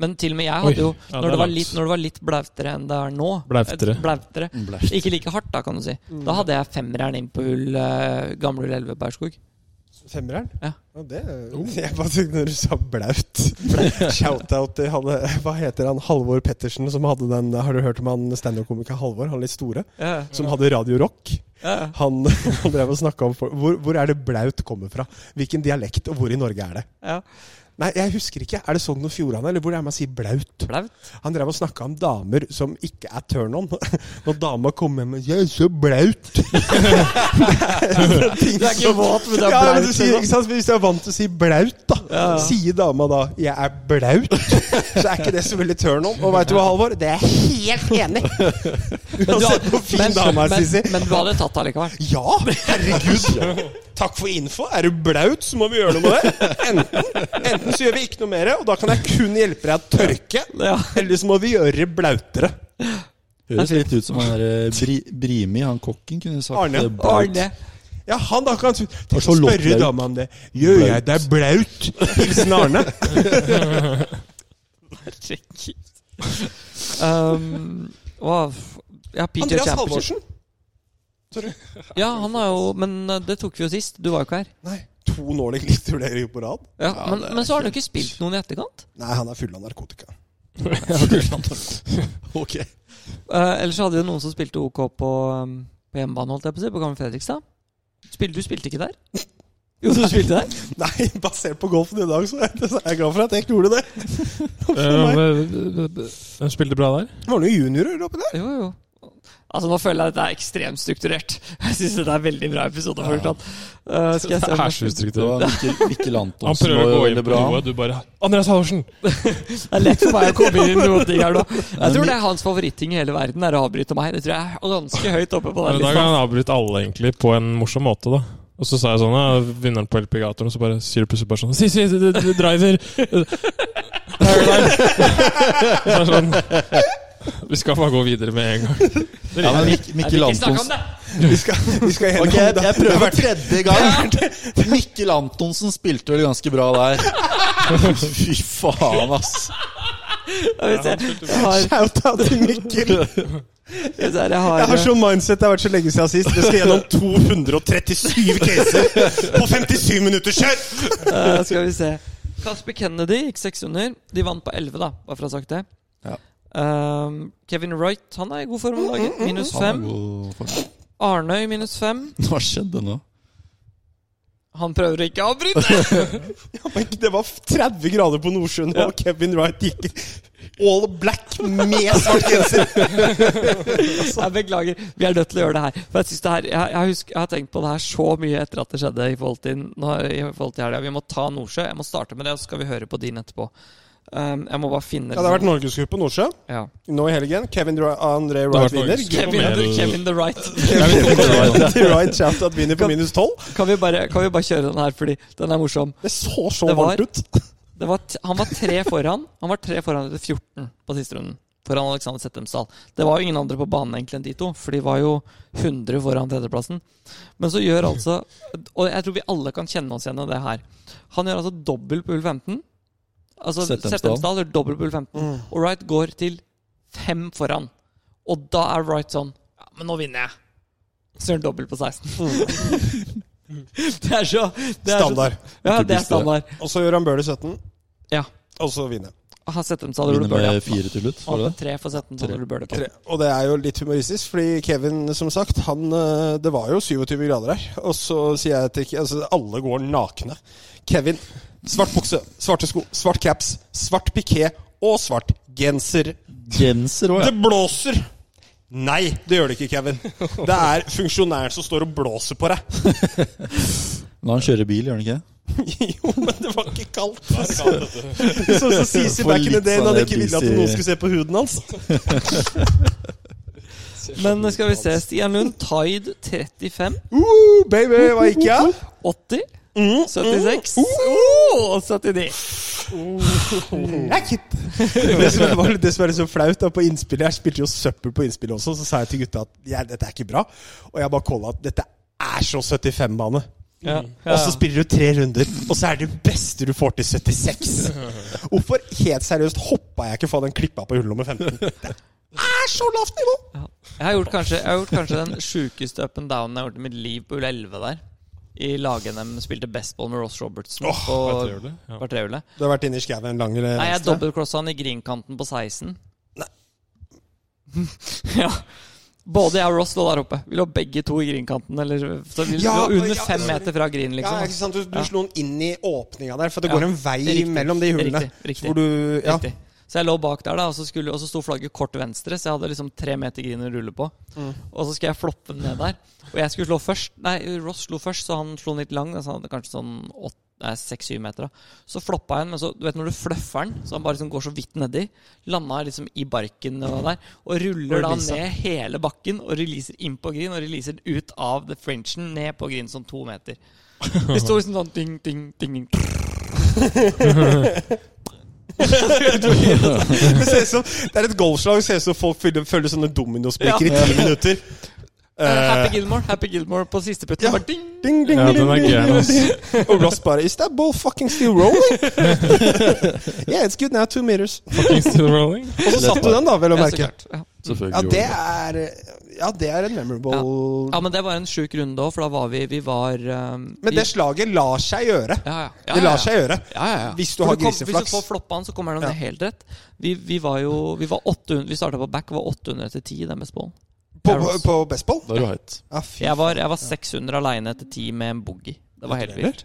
Speaker 3: Men til og med jeg
Speaker 4: Oi.
Speaker 3: hadde jo
Speaker 4: Ja,
Speaker 3: Når
Speaker 4: det
Speaker 3: det
Speaker 4: er
Speaker 3: var
Speaker 4: langt.
Speaker 3: litt, når det var litt blautere enn det er nå
Speaker 4: Blautere.
Speaker 3: et blautere Mm. Ikke like hardt, da, kan du si. Da hadde jeg femmeren inn på hull eh, gamle hull 11 eh, Bergskog.
Speaker 2: Femmereren?
Speaker 3: Ja.
Speaker 2: det Jeg bare tenkte når du sa blaut. Shout-out til han, eh, hva heter han, Halvor Pettersen, som hadde den eh, Har du hørt om han standup-komikeren Halvor, han litt store?
Speaker 3: Ja,
Speaker 2: Som hadde Radio Rock.
Speaker 3: ja.
Speaker 2: Han, han drev og snakka om for, hvor, hvor er det blaut kommer fra? Hvilken dialekt, og hvor i Norge er det?
Speaker 3: ja.
Speaker 2: Nei, jeg husker ikke. Er det Sogn og Fjordane, eller hvor er det man sier blaut?
Speaker 3: Blaut.
Speaker 2: Han drev og snakka om damer som ikke er turn on. Når dama kom hjem med 'Jeg er så blaut'.
Speaker 3: Du er ikke våt, men du er
Speaker 2: Ja, men
Speaker 3: blaut. liksom.
Speaker 2: du sier, ikke sant? Hvis du er vant til å si blaut, da. Sier dama da 'jeg er blaut', så er ikke det så veldig turn on. Og veit du hva, Halvor? Det er jeg helt enig i.
Speaker 3: Men du har-
Speaker 2: Uansett hvor fin
Speaker 3: men-
Speaker 2: dama er,
Speaker 3: men-
Speaker 2: Sissi.
Speaker 3: Men du hadde tatt det allikevel.
Speaker 2: Ja, herregud. Takk for info. Er du blaut, så må vi gjøre noe med det. Enten, enten så gjør vi ikke noe mer, og da kan jeg kun hjelpe deg å tørke.
Speaker 3: Ja.
Speaker 2: Eller så må vi gjøre det blautere.
Speaker 1: Høres litt ut som han der eh, Bri, Brimi, han kokken, kunne sagt
Speaker 2: Arne.
Speaker 1: eh, blaut.
Speaker 3: Arne.
Speaker 2: Ja, han da kan
Speaker 1: Og
Speaker 2: Tenk
Speaker 1: så
Speaker 2: å
Speaker 1: lukter
Speaker 2: spørre
Speaker 1: det.
Speaker 2: dama om det. Gjør jeg deg blaut? Hilsen Arne.
Speaker 3: Um, og, f- ja, Peter
Speaker 2: Andreas
Speaker 3: Champions-
Speaker 2: Halvorsen.
Speaker 3: Ja, han er jo Men eh, det tok vi jo sist. Du var jo ikke her.
Speaker 2: Nei, to nåler glittervurderinger på rad.
Speaker 3: Ja, men, men så har han jo ikke spilt noen i etterkant.
Speaker 2: Nei, han er full av narkotika.
Speaker 1: Ok.
Speaker 3: Eh, ellers så hadde vi noen som spilte OK på, um, på hjemmebane, holdt jeg på å si, på Gamle Fredrikstad. Spil, du spilte ikke der? Jo, du spilte der.
Speaker 2: Nei, basert på golfen i dag, så er så er jeg glad for at jeg ikke gjorde det.
Speaker 4: Eh,
Speaker 2: Meg.
Speaker 4: Hvem spilte bra der?
Speaker 2: Det var noen juniorer oppi der.
Speaker 3: Jo, jo. Altså, Nå føler jeg at dette er ekstremt strukturert. Jeg syns dette er en veldig bra episode. fortsatt. Eh, skal jeg se om jeg-
Speaker 1: Det var Mikkel, Mikkel
Speaker 4: Han
Speaker 1: Antonsen
Speaker 4: prøver
Speaker 1: var
Speaker 4: å
Speaker 1: jo
Speaker 4: gå inn
Speaker 1: veldig
Speaker 4: på
Speaker 1: bra.
Speaker 4: noe, du bare Andreas Halvorsen!
Speaker 3: Det er lett for meg å komme inn i noen ting her nå. Jeg tror det er hans favoritting i hele verden, er å avbryte meg. Det tror jeg er ganske høyt oppe på den
Speaker 4: Da kan
Speaker 3: lista.
Speaker 4: han avbryte alle, egentlig, på en morsom måte, da. Og så sa jeg sånn, ja, vinneren på Elpigatoren, så bare sier du plutselig bare sånn Si, si, du- du- du driver! Paradise! Så er det sånn Vi skal bare gå videre med en gang.
Speaker 1: Ja, men Mik
Speaker 3: Jeg vil
Speaker 1: Mikkel
Speaker 3: ikke snakke
Speaker 1: Antonsen
Speaker 3: om det!
Speaker 2: Vi skal, vi skal gjennom
Speaker 1: Ok, jeg,
Speaker 2: det.
Speaker 1: jeg prøver for tredje gang. Mikkel Antonsen spilte vel ganske bra der. Fy faen, ass.
Speaker 3: Jeg vil se. Jeg har,
Speaker 2: Shout-out til Mikkel.
Speaker 3: jeg ser, jeg har,
Speaker 2: Jeg har sånn mindset det har vært så lenge siden sist. Det skal gjennom 237 caser på 57 minutter. Kjør!
Speaker 3: eh, skal vi se. Casper Kennedy gikk seks under. De vant på 11, da, bare for å ha sagt det.
Speaker 1: Ja.
Speaker 3: Ehm, Kevin Wright han er i god form om dagen. Minus
Speaker 1: Han er
Speaker 3: fem.
Speaker 1: god for-
Speaker 3: Arnøy minus fem.
Speaker 1: Hva skjedde nå?
Speaker 3: Han prøver å ikke avbryte!
Speaker 2: Det var 30 grader på Nordsjøen, og Kevin Wright gikk i all black med svart genser.
Speaker 3: Jeg beklager. Vi er nødt til å gjøre det her. For Jeg, synes det her, jeg, jeg, husker, jeg har tenkt på det her så mye etter at det skjedde i forhold til, nå, i forhold til helga. Vi må ta Nordsjø. Jeg må starte med det, og så skal vi høre på din etterpå. Ehm, jeg må bare finne
Speaker 2: Ja, det har vært norgesgruppe Nordsjø
Speaker 3: ja.
Speaker 2: nå i helgen. Kevin Ra- André
Speaker 4: har
Speaker 2: Wright
Speaker 4: vært
Speaker 2: vinner.
Speaker 4: norgesgruppe.
Speaker 3: Kevin,
Speaker 4: Mer-
Speaker 3: Kevin the Right.
Speaker 2: Kevin Wright shout-out vinner på minus 12.
Speaker 3: Kan vi, bare, kan vi bare kjøre den her, fordi den er morsom.
Speaker 2: Det så så
Speaker 3: Det var-
Speaker 2: varmt ut.
Speaker 3: Det var t han var tre foran. Han var tre foran etter 14 på siste runden. Foran Alexander Settemsdal. Det var jo ingen andre på banen egentlig enn de to, for de var jo 100 foran tredjeplassen. Men så gjør altså Og jeg tror vi alle kan kjenne oss igjen i det her. Han gjør altså dobbel på hull 15. Altså
Speaker 1: Settemsdal.
Speaker 3: Settemsdal gjør dobbel på hull 15. Og Wright går til fem foran. Og da er Wright sånn Ja, men nå vinner jeg. Så gjør han dobbel på 16. det er så det er så-
Speaker 2: Standard.
Speaker 3: Ja, det er standard.
Speaker 2: Og så gjør han Bøhler 17,
Speaker 3: Ja.
Speaker 2: og så vinner.
Speaker 3: Har sett dem, sa du.
Speaker 1: Vinner
Speaker 3: Ole Bøhler,
Speaker 1: med
Speaker 3: ja.
Speaker 1: fire til slutt,
Speaker 3: Han
Speaker 1: var det
Speaker 3: hadde
Speaker 1: det?
Speaker 3: tre for 17 som
Speaker 1: Tre.
Speaker 3: Ole Bøhler på.
Speaker 2: Tre. Og det er jo litt humoristisk, fordi Kevin, som sagt, han eh, Det var jo 27 grader her. Og så sier jeg til Ke- altså, Alle går nakne. Kevin, svart bukse, svarte sko, svart caps, svart piké og svart genser.
Speaker 1: Genser òg,
Speaker 2: Det
Speaker 1: ja.
Speaker 2: blåser! Nei, det gjør det ikke, Kevin. Det er funksjonæren som står og blåser på deg.
Speaker 1: Men han kjører bil, gjør han ikke?
Speaker 2: jo, men det var ikke kaldt. Sånn som Sisi
Speaker 1: Får
Speaker 2: back in the
Speaker 1: litt
Speaker 2: day,
Speaker 1: sånn
Speaker 2: da han ikke ville at
Speaker 1: busy-
Speaker 2: noen skulle se på huden hans.
Speaker 3: Men eh, skal vi se. Stian Lund, Tide 35.
Speaker 2: Uh, baby, hva gikk jeg?
Speaker 3: 80. 76. Og 79.
Speaker 2: Racket! Det som var det som er litt så flaut da, på innspillet Jeg spilte jo søppel på innspillet også, så sa jeg til gutta at «Ja, dette er ikke bra. Og jeg bare calla at dette er så 75-bane.
Speaker 3: Ja.
Speaker 2: Og så spiller du tre runder, og så er det beste du får til 76. Hvorfor helt seriøst hoppa jeg ikke fra den klippa på hull nummer 15? Det er så lavt nivå!
Speaker 3: Jeg har gjort kanskje, jeg har gjort kanskje den sjukeste up and down jeg har gjort i mitt liv på hull 11 der. i lag-NM spilte bestball med Ross Robertson
Speaker 4: Hva
Speaker 3: på
Speaker 4: tror du? Ja.
Speaker 3: kvartrehjulet.
Speaker 2: Du har vært inne i skauen en lang eller
Speaker 3: Nei, jeg
Speaker 2: venstre?
Speaker 3: dobbeltcrossa han i greenkanten på 16. ja. Både jeg og Ross lå der oppe. Vi lå begge to i greenkanten. Eller, så vi
Speaker 2: Ja,
Speaker 3: lå under
Speaker 2: ja,
Speaker 3: fem
Speaker 2: sorry.
Speaker 3: meter fra green,
Speaker 2: Ja,
Speaker 3: liksom.
Speaker 2: ikke sant? Du, du
Speaker 3: Ja.
Speaker 2: slo den inn i åpninga der, for det
Speaker 3: Ja,
Speaker 2: går en vei
Speaker 3: det er riktig.
Speaker 2: mellom de hullene.
Speaker 3: Riktig. riktig,
Speaker 2: Hvor du Ja.
Speaker 3: riktig. Så jeg lå bak der, da, og så, skulle, og så sto flagget kort venstre, så jeg hadde liksom tre meter green å rulle på.
Speaker 2: Mm.
Speaker 3: Og så skal jeg floppe den ned der. Og jeg skulle slå først. Nei, Ross slo først, så han slo den litt lang. Så han hadde kanskje sånn åt- nei, seks-syv meter. da. Så floppa jeg den, men så, du vet når du fluffer den, så han bare liksom går så vidt nedi, landa liksom i barken og der, og ruller da
Speaker 2: releaser.
Speaker 3: ned hele bakken og releaser inn på green, og releaser den ut av the frenchen ned på green sånn to meter. Det sto liksom sånn ding, ding, ding, ding.
Speaker 2: Det, ser ut som, det er et golfslag. Det ser ut som folk følger, følger sånne dominospiker i ti minutter.
Speaker 3: Eh, Happy
Speaker 2: Eh,
Speaker 3: Gilmore Happy Gilmore på siste putten.
Speaker 2: Ja.
Speaker 3: Bare ding!
Speaker 2: ding, ding,
Speaker 4: Ja,
Speaker 2: ding,
Speaker 4: den er
Speaker 2: ding,
Speaker 4: gæren, ass.
Speaker 2: ding, ding. Og Ross bare Is that ball fucking still rolling? yeah, it's good now. Two meters.
Speaker 4: Fucking still rolling.
Speaker 2: Og så satt du den, da, vel å
Speaker 3: Ja, så
Speaker 2: merke.
Speaker 3: klart. Ja.
Speaker 2: Ja,
Speaker 1: Selvfølgelig
Speaker 2: det
Speaker 1: gjorde
Speaker 2: er Ja, det er en memorable
Speaker 3: ja, men det var en sjuk runde òg, for da var vi Vi var um,
Speaker 2: Men det slaget lar seg gjøre.
Speaker 3: ja, ja, ja,
Speaker 2: Det
Speaker 3: ja,
Speaker 2: lar
Speaker 3: ja.
Speaker 2: seg gjøre.
Speaker 3: ja, ja, ja.
Speaker 2: Hvis du
Speaker 3: For
Speaker 2: har
Speaker 3: kom-
Speaker 2: griseflaks.
Speaker 3: Hvis du får floppa han, så kommer han
Speaker 2: Ja.
Speaker 3: ned helt rett. Vi, vi var jo Vi var 800 Vi starta på back og var 800 etter 10 i den bestballen.
Speaker 2: På, på, på bestball?
Speaker 1: det. Da er du heit.
Speaker 2: Ja, fy.
Speaker 3: Jeg var, jeg var 600 aleine etter 10 med en boogie. Det var helt vilt.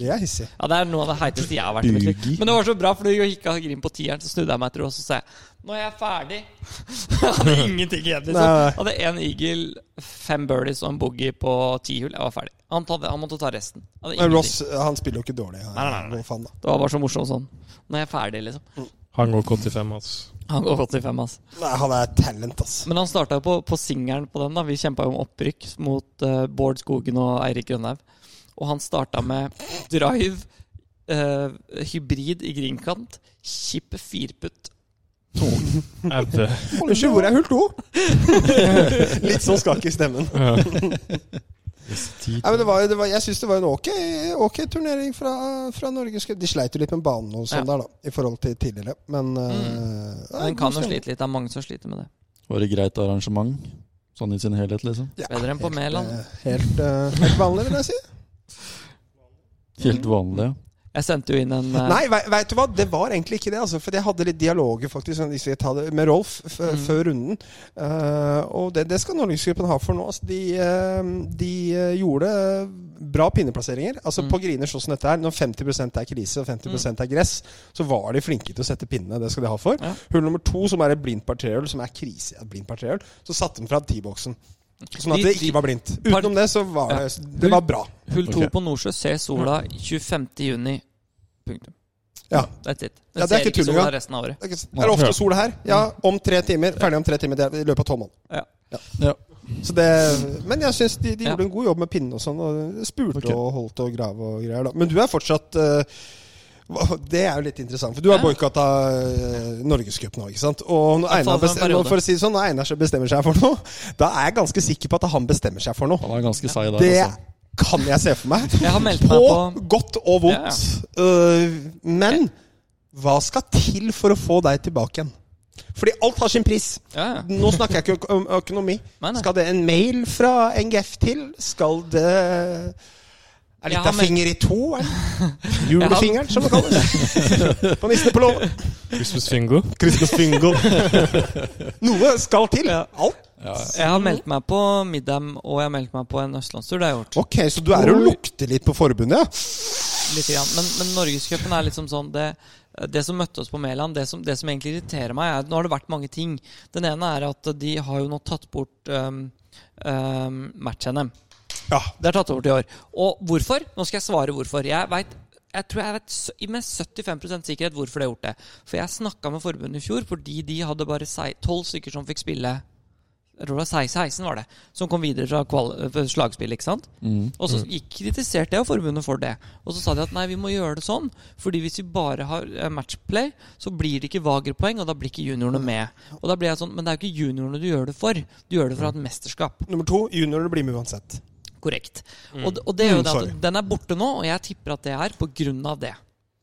Speaker 2: Det er hissig.
Speaker 3: Ja, Det er noe av det heiteste jeg har vært i mitt liv.
Speaker 1: Boogie.
Speaker 3: Men det var så bra, for du gikk av grim på tieren, så snudde jeg meg etter og så sa jeg Nå er jeg ferdig. jeg hadde ingenting igjen. liksom.
Speaker 2: Nei.
Speaker 3: Jeg Hadde én eagle, fem birdies og en boogie på ti hull. Jeg var ferdig. Han, tatt, han måtte ta resten. Jeg Hadde
Speaker 2: Men
Speaker 3: ingenting.
Speaker 2: Ross han spiller jo ikke dårlig. Han,
Speaker 3: Nei, nei, nei, nei.
Speaker 2: Hvor faen da?
Speaker 3: Det var bare så morsomt sånn. Nå er jeg ferdig, liksom.
Speaker 4: Han går K85, altså.
Speaker 3: Han går 85, altså.
Speaker 2: nei, han er talent, ass.
Speaker 3: Men han starta jo på, på singelen på den. da Vi kjempa jo om opprykk mot eh, Bård Skogen og Eirik Grønhaug. Og han starta med drive, eh, hybrid i greenkant, chip firputt.
Speaker 4: Edde.
Speaker 2: Unnskyld, hvor er hull to? Litt sånn skakk i stemmen.
Speaker 4: Ja.
Speaker 2: Nei, men det var, jo- det var, jeg syns det var en ok, ok turnering fra, fra Norge. De sleit jo litt med banen og
Speaker 3: Ja.
Speaker 2: sånn
Speaker 3: Mm.
Speaker 2: der, da, i forhold til tidligere. Men eh, ja,
Speaker 3: Den kan jo
Speaker 2: god stemning.
Speaker 3: slite litt. Det er mange som sliter med det.
Speaker 1: Var det greit arrangement? Sånn i sin helhet, liksom?
Speaker 2: Ja,
Speaker 3: Bedre enn på
Speaker 2: helt,
Speaker 3: Mæland.
Speaker 2: eh, Helt, eh, helt vanlig, vil jeg si.
Speaker 1: Helt vanlig.
Speaker 3: Jeg sendte jo inn en eh,
Speaker 2: Nei, vei- vet du hva? Det var egentlig ikke det. Altså, for jeg hadde litt dialoger faktisk sånn, hvis vi tar det, med Rolf f
Speaker 3: Mm.
Speaker 2: før runden. Eh, og det, det skal Norgesgruppen ha for nå. Altså, de, eh, de eh, gjorde bra pinneplasseringer. Altså
Speaker 3: Mm.
Speaker 2: På griner sånn som dette her, når 50 er krise og 50 er gress, så var de flinke til å sette pinnene. Det skal de ha for.
Speaker 3: Ja.
Speaker 2: Hull nummer to, som er et blindt parterøl, som er krise i et blindt parterøl, så satte de fra T-boksen. Sånn at
Speaker 3: De-
Speaker 2: det ikke var blindt. Utenom det, så var det, det var bra.
Speaker 3: Hull to
Speaker 1: Ok.
Speaker 3: på Nordsjø ser sola 25. juni. Punktum.
Speaker 2: Mm. Ja.
Speaker 3: That's it. Den
Speaker 2: Ja, det er
Speaker 3: ser
Speaker 2: ikke
Speaker 3: ikke
Speaker 2: tull
Speaker 3: sola
Speaker 2: engang.
Speaker 3: resten av året.
Speaker 2: Det er ikke- er det ofte sol her? Ja, om tre timer. Ferdig om tre timer. Det er i løpet av tolv måneder.
Speaker 3: Ja.
Speaker 1: Mm. Ja.
Speaker 2: Så det, men jeg syns de, de
Speaker 3: Ja.
Speaker 2: gjorde en god jobb med pinnen og sånn. Og spurte
Speaker 1: Ok.
Speaker 2: og holdt og grav og greier. Da. Men du er fortsatt eh, hva- Det er jo litt interessant, for du har
Speaker 3: Ja.
Speaker 2: boikotta uh, Norgescupen òg, ikke sant? Og når
Speaker 3: I hvert fall
Speaker 2: Einar,
Speaker 3: for en
Speaker 2: bestem-
Speaker 3: periode.
Speaker 2: nå, for å si det sånn, når Einar så bestemmer seg for noe, da er jeg ganske sikker på at han bestemmer seg for noe.
Speaker 1: Han er ganske seig der,
Speaker 2: Det
Speaker 1: altså.
Speaker 2: kan jeg se for meg.
Speaker 3: Jeg har meldt meg
Speaker 2: På
Speaker 3: på
Speaker 2: godt og vondt. Eh, men hva skal til for å få deg tilbake igjen? Fordi alt har sin pris.
Speaker 3: ja, ja.
Speaker 2: Nå snakker jeg ikke øko- om økonomi.
Speaker 3: Nei, nei.
Speaker 2: Skal det en mail fra NGF til? Skal det Er
Speaker 3: Jeg
Speaker 2: litt
Speaker 3: har
Speaker 2: av
Speaker 3: meldt-
Speaker 2: finger i to? er det? Julefingeren, som det kalles. På nissene på låven.
Speaker 4: Christmas Fingo.
Speaker 2: Christmas bingo. Noe skal til. Alt.
Speaker 3: Jeg har meldt meg på Middam, og jeg har meldt meg på en østlandstur. Det har jeg gjort.
Speaker 2: Ok, så du er og lukter litt på forbundet, ja?
Speaker 3: litt grann. Men, men Norgescupen er liksom sånn det, det som møtte oss på Mæland, det, som- det som egentlig irriterer meg, er at nå har det vært mange ting. Den ene er at de har jo nå tatt bort um, um, match-NM.
Speaker 2: Ja.
Speaker 3: Det er tatt over til i år. Og hvorfor? Nå skal jeg svare hvorfor. Jeg vet, jeg tror jeg vet s- med 75 sikkerhet hvorfor de har gjort det. For jeg snakka med forbundet i fjor fordi de hadde bare tolv stykker som fikk spille jeg tror det var 16, 16 var det, som kom videre fra kval eh, slagspill. ikke sant? Og så gikk, kritiserte jeg forbundet for det. Og så sa de at nei, vi må gjøre det sånn, fordi hvis vi bare har eh, matchplay, så blir det ikke Vager-poeng, og da blir ikke juniorene med. Og da ble jeg sånn, Men det er jo ikke juniorene du gjør det for. Du gjør det for å ha et mesterskap.
Speaker 2: Nummer to, juniorer blir med uansett.
Speaker 3: Korrekt. Og, og det er jo
Speaker 2: Mm,
Speaker 3: det
Speaker 2: sorry.
Speaker 3: at den er borte nå, og jeg tipper at det er på grunn av det.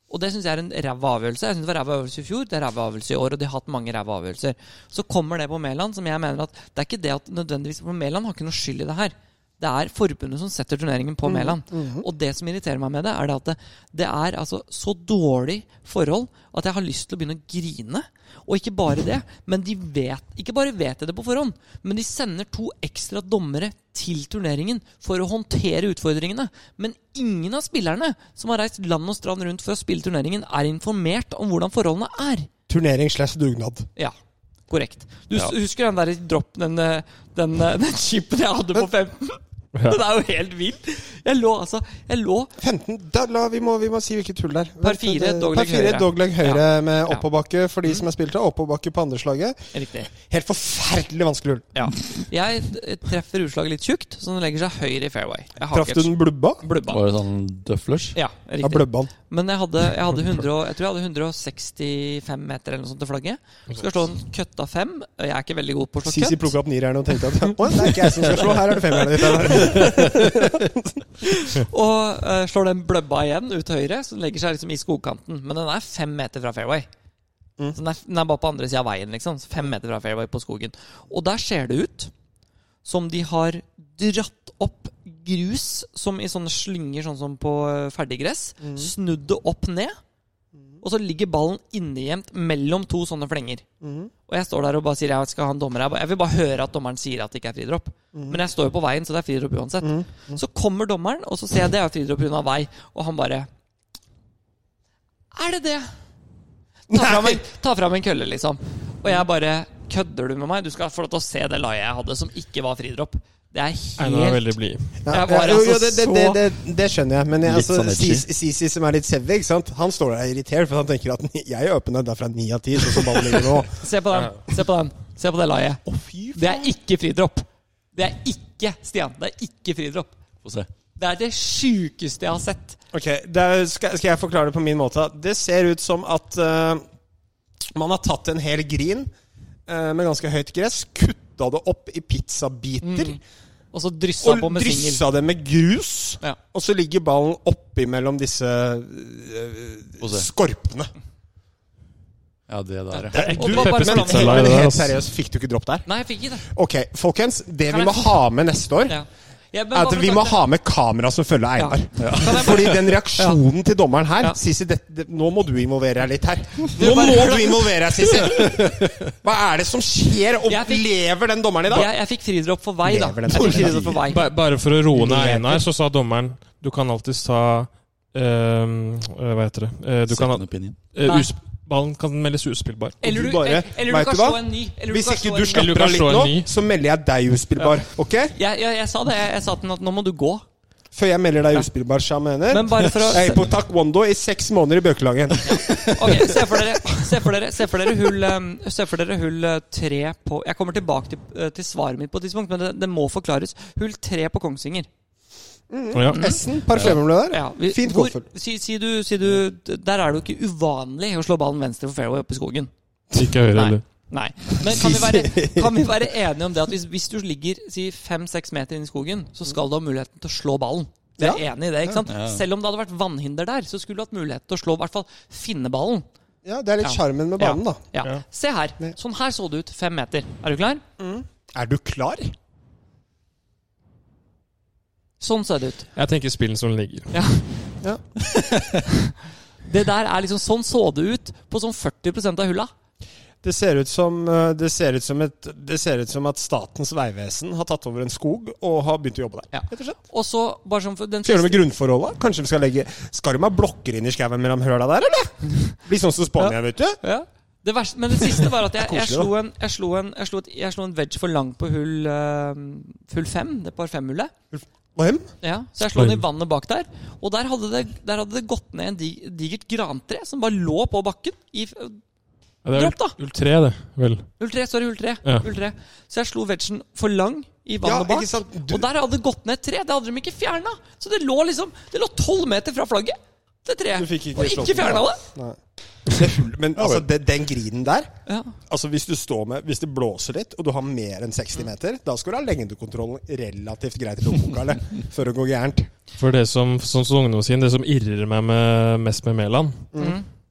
Speaker 3: Og det syns jeg er en ræva avgjørelse. Jeg synes Det var ræva avgjørelse i fjor, det er ræva avgjørelse i år, og de har hatt mange ræva avgjørelser. Så kommer det på Mæland, som jeg mener at det er ikke det at nødvendigvis For Mæland har ikke noe skyld i det her. Det er forbundet som setter turneringen
Speaker 2: Mm,
Speaker 3: på Mæland. Og det som irriterer meg med det, er det at det, det er altså så dårlig forhold at jeg har lyst til å begynne å grine. Og ikke bare det, men de vet Ikke bare vet jeg det på forhånd, men de sender to ekstra dommere til turneringen for å håndtere utfordringene. Men ingen av spillerne som har reist land og strand rundt for å spille turneringen, er informert om hvordan forholdene er.
Speaker 2: Turnering slash dugnad.
Speaker 3: Ja, korrekt. Du s- husker den der dropp, den, eh, den, eh, den chipen jeg hadde på 15?
Speaker 4: Ja.
Speaker 3: Den er jo helt vill! Jeg lå altså Jeg lå
Speaker 2: 15 da, la, vi, må, vi må si hvilket hull det er.
Speaker 3: Par fire,
Speaker 2: Det- det-
Speaker 3: dogleg
Speaker 2: par fire,
Speaker 3: høyre.
Speaker 2: dogleg høyre med
Speaker 3: Ja. Mm.
Speaker 2: oppoverbakke for de som er spilt av. Oppoverbakke på andre slaget.
Speaker 3: Riktig.
Speaker 2: Helt forferdelig vanskelig hull.
Speaker 3: Jeg d- treffer utslaget litt tjukt, så den legger seg høyre i fairway. Jeg har
Speaker 2: Traff du
Speaker 3: ikke
Speaker 2: den blubba?
Speaker 3: blubba.
Speaker 1: Var det sånn døflers?
Speaker 3: Ja,
Speaker 2: Ja,
Speaker 3: riktig.
Speaker 2: blubba han.
Speaker 3: Men jeg hadde, jeg hadde 100, og- jeg tror jeg hadde 165 meter eller noe sånt til flagget. Skal slå en køtta fem. Jeg er ikke veldig god på å slå
Speaker 2: Sisi
Speaker 3: køtt.
Speaker 2: plukka opp nireren og tenkte at Å, det er ikke jeg som skal slå, her er det femmerne ditt.
Speaker 3: Og eh, slår den bløbba igjen ut til høyre, så den legger seg liksom i skogkanten. Men den er fem meter fra fairway. Så den er, den er bare på andre sida av veien, liksom. Så Fem meter fra fairway på skogen. Og der ser det ut som de har dratt opp grus som i sånne slynger, sånn som på eh, ferdiggress. Snudd det opp ned. Og så ligger ballen innegjemt mellom to sånne flenger. Og jeg står der og bare sier jeg skal ha en dommer. Jeg bare- Jeg vil bare høre at dommeren sier at det ikke er fridropp. Men jeg står jo på veien, så det er fridropp uansett. Så kommer dommeren, og så ser jeg det er jo fridropp pga. vei. Og han bare Er det det? Ta fram, en, ta fram en kølle, liksom. Og jeg bare Kødder du med meg? Du skal få lov til å se det laiet jeg hadde, som ikke var fridropp. Det er
Speaker 4: Einar er
Speaker 3: helt
Speaker 4: veldig blid.
Speaker 3: Jeg var altså
Speaker 2: det, det,
Speaker 3: så-
Speaker 2: det, det, det skjønner jeg, men jeg,
Speaker 1: Litt
Speaker 2: altså,
Speaker 1: sånn edgy.
Speaker 2: Sisi, Sisi som er litt sevig, ikke sant? han står der og er irritert, for han tenker at jeg åpna derfra ni av ti, sånn som ballen ligger nå.
Speaker 3: Se på den. Se på den. Se på det laiet. Det er ikke fridropp. Det er ikke, Stian, det er ikke fridropp.
Speaker 1: Få se.
Speaker 3: Det er det sjukeste jeg har sett.
Speaker 2: Ok, da skal, skal jeg forklare det på min måte. Det ser ut som at eh, man har tatt en hel grin eh, med ganske høyt gress, kutta det opp i pizzabiter
Speaker 3: Og så dryssa Mm. på
Speaker 2: og
Speaker 3: med singel.
Speaker 2: dryssa det med grus.
Speaker 3: Ja.
Speaker 2: Og så ligger ballen oppi mellom disse eh,
Speaker 1: Få se.
Speaker 2: skorpene.
Speaker 1: Ja, det der, ja.
Speaker 4: Det er
Speaker 3: Og
Speaker 4: ekte
Speaker 3: det var bare
Speaker 4: Peppers
Speaker 3: sånn-
Speaker 4: pizza
Speaker 2: Men
Speaker 4: Lai, det der,
Speaker 2: helt
Speaker 4: ass.
Speaker 2: seriøst, fikk du ikke dropp der?
Speaker 3: Nei, jeg fikk ikke det.
Speaker 2: Ok, folkens. Det
Speaker 3: Kan
Speaker 2: vi
Speaker 3: jeg-
Speaker 2: må ha med neste år,
Speaker 3: Ja. Ja, men
Speaker 2: er
Speaker 3: bare
Speaker 2: at
Speaker 3: for
Speaker 2: vi
Speaker 3: å
Speaker 2: må
Speaker 3: ta-
Speaker 2: ha med kamera som følger
Speaker 3: Ja.
Speaker 2: Einar.
Speaker 3: Kan jeg
Speaker 2: Fordi den reaksjonen til dommeren her
Speaker 3: Ja.
Speaker 2: Sissi, det, det, nå må du involvere deg litt her.
Speaker 3: Du
Speaker 2: Nå må
Speaker 3: bare-
Speaker 2: du involvere deg, Sissi! Hva er det som skjer? Og
Speaker 3: Jeg fikk-
Speaker 2: lever den dommeren i dag?
Speaker 3: Jeg, jeg fikk fridropp for vei, da.
Speaker 2: Lever den
Speaker 3: To
Speaker 2: dommeren.
Speaker 3: fridropp for vei.
Speaker 4: Ba- Bare for å roe ned
Speaker 2: Nyheter.
Speaker 4: Einar, så sa dommeren Du kan alltids ta ehm, eh, Hva heter det? Eh, du kan,
Speaker 1: Second opinion.
Speaker 4: eh,
Speaker 3: Nei.
Speaker 4: us ballen kan meldes uspillbar.
Speaker 3: Eller
Speaker 2: Du
Speaker 3: du,
Speaker 2: bare-
Speaker 3: eller, eller du
Speaker 2: vet
Speaker 3: kan
Speaker 2: du hva?
Speaker 3: slå en ny. Eller
Speaker 2: Hvis
Speaker 3: kan slå
Speaker 2: ikke du
Speaker 3: en ny.
Speaker 4: Eller du
Speaker 2: slapper
Speaker 4: kan
Speaker 2: av
Speaker 4: slå
Speaker 2: litt
Speaker 4: en
Speaker 2: nå,
Speaker 4: ny.
Speaker 2: så melder jeg deg uspillbar. Ok?
Speaker 3: jeg, jeg, jeg sa det. Jeg, jeg sa til ham at nå må du gå.
Speaker 2: Før jeg melder deg uspillbar, Shamener.
Speaker 3: Men bare for å-
Speaker 2: Jeg er på taekwondo i seks måneder i Bøkelangen.
Speaker 3: Ok, Se for dere, se for dere, se for dere hull ehm, Se for dere hull eh, tre på Jeg kommer tilbake til, eh, til svaret mitt på et tidspunkt, men det, det må forklares. Hull tre på Kongsvinger.
Speaker 4: Ja.
Speaker 2: Essen, parfymen ble der.
Speaker 3: Ja, vi,
Speaker 2: Fint
Speaker 3: hvor-
Speaker 2: golfhull.
Speaker 3: Si, si du, si du, der er det jo ikke uvanlig å slå ballen venstre for fairway oppe i skogen.
Speaker 4: Ikke høyre
Speaker 3: Nei.
Speaker 4: heller.
Speaker 3: Nei. Men kan vi, være, kan vi være enige om det at hvis, hvis du ligger si, fem-seks meter inn i skogen, så skal du ha muligheten til å slå ballen? Vi er enig i det, ikke sant?
Speaker 1: Ja.
Speaker 3: Selv om det hadde vært vannhinder der, så skulle du hatt muligheten til å slå, i hvert fall finne ballen.
Speaker 2: Ja, det er litt
Speaker 3: Ja.
Speaker 2: sjarmen med banen, da.
Speaker 3: Ja.
Speaker 4: Ja.
Speaker 3: Se her. Sånn her så det ut. Fem meter. Er du klar?
Speaker 2: Er du klar?
Speaker 3: Sånn så det ut.
Speaker 4: Jeg tenker spillen som ligger.
Speaker 3: Det der er liksom Sånn så det ut på sånn 40 av hulla.
Speaker 2: Det ser ut som, eh, det ser ut som, et, det ser ut som at Statens vegvesen har tatt over en skog og har begynt å jobbe der.
Speaker 3: Ja.
Speaker 2: Rett og slett.
Speaker 3: Og så bare sånn for den
Speaker 2: Skal vi gjøre noe med grunnforholda? Kanskje vi skal legge Skal de ha blokker inn i skauen mellom høla der, eller? Blir sånn som Spania, vet du.
Speaker 3: Ja. Det verste, men det siste var at jeg, jeg,
Speaker 2: koselig,
Speaker 3: slo, en, jeg, slo, en, jeg, slo, et, jeg slo en wedge for langt på hull, eh, hull fem. Det par femhullet.
Speaker 2: Hvem?
Speaker 3: Ja, så jeg slo den i vannet bak der. Og der hadde det, der hadde det gått ned en dig, digert grantre som bare lå på bakken. I, f-
Speaker 4: Ja, det er
Speaker 3: Dropp, da.
Speaker 4: hull- hull tre, det. Vel.
Speaker 3: hull 3, sorry, hull 3.
Speaker 4: Ja.
Speaker 3: Hull 3. Så jeg slo vegen for lang i
Speaker 2: Ja,
Speaker 3: vannet bak.
Speaker 2: ikke sant? Du,
Speaker 3: Og der hadde det gått ned et tre. Det hadde de ikke fjerna. Så det lå liksom Det lå tolv meter fra flagget, det treet.
Speaker 2: Du fikk ikke
Speaker 3: Og
Speaker 2: slått
Speaker 3: ikke
Speaker 2: den,
Speaker 3: fjerna
Speaker 2: da.
Speaker 3: det.
Speaker 2: Nei. Det hull, men altså, det, den grinen der
Speaker 3: Ja.
Speaker 2: Altså hvis, du står med, hvis det blåser litt, og du har mer enn 60 meter, da skal du ha lengdekontrollen relativt greit i lommeboka eller? før det går gærent.
Speaker 4: For det som, sånn som ungdommen sier, det som irrer meg med, mest med Mæland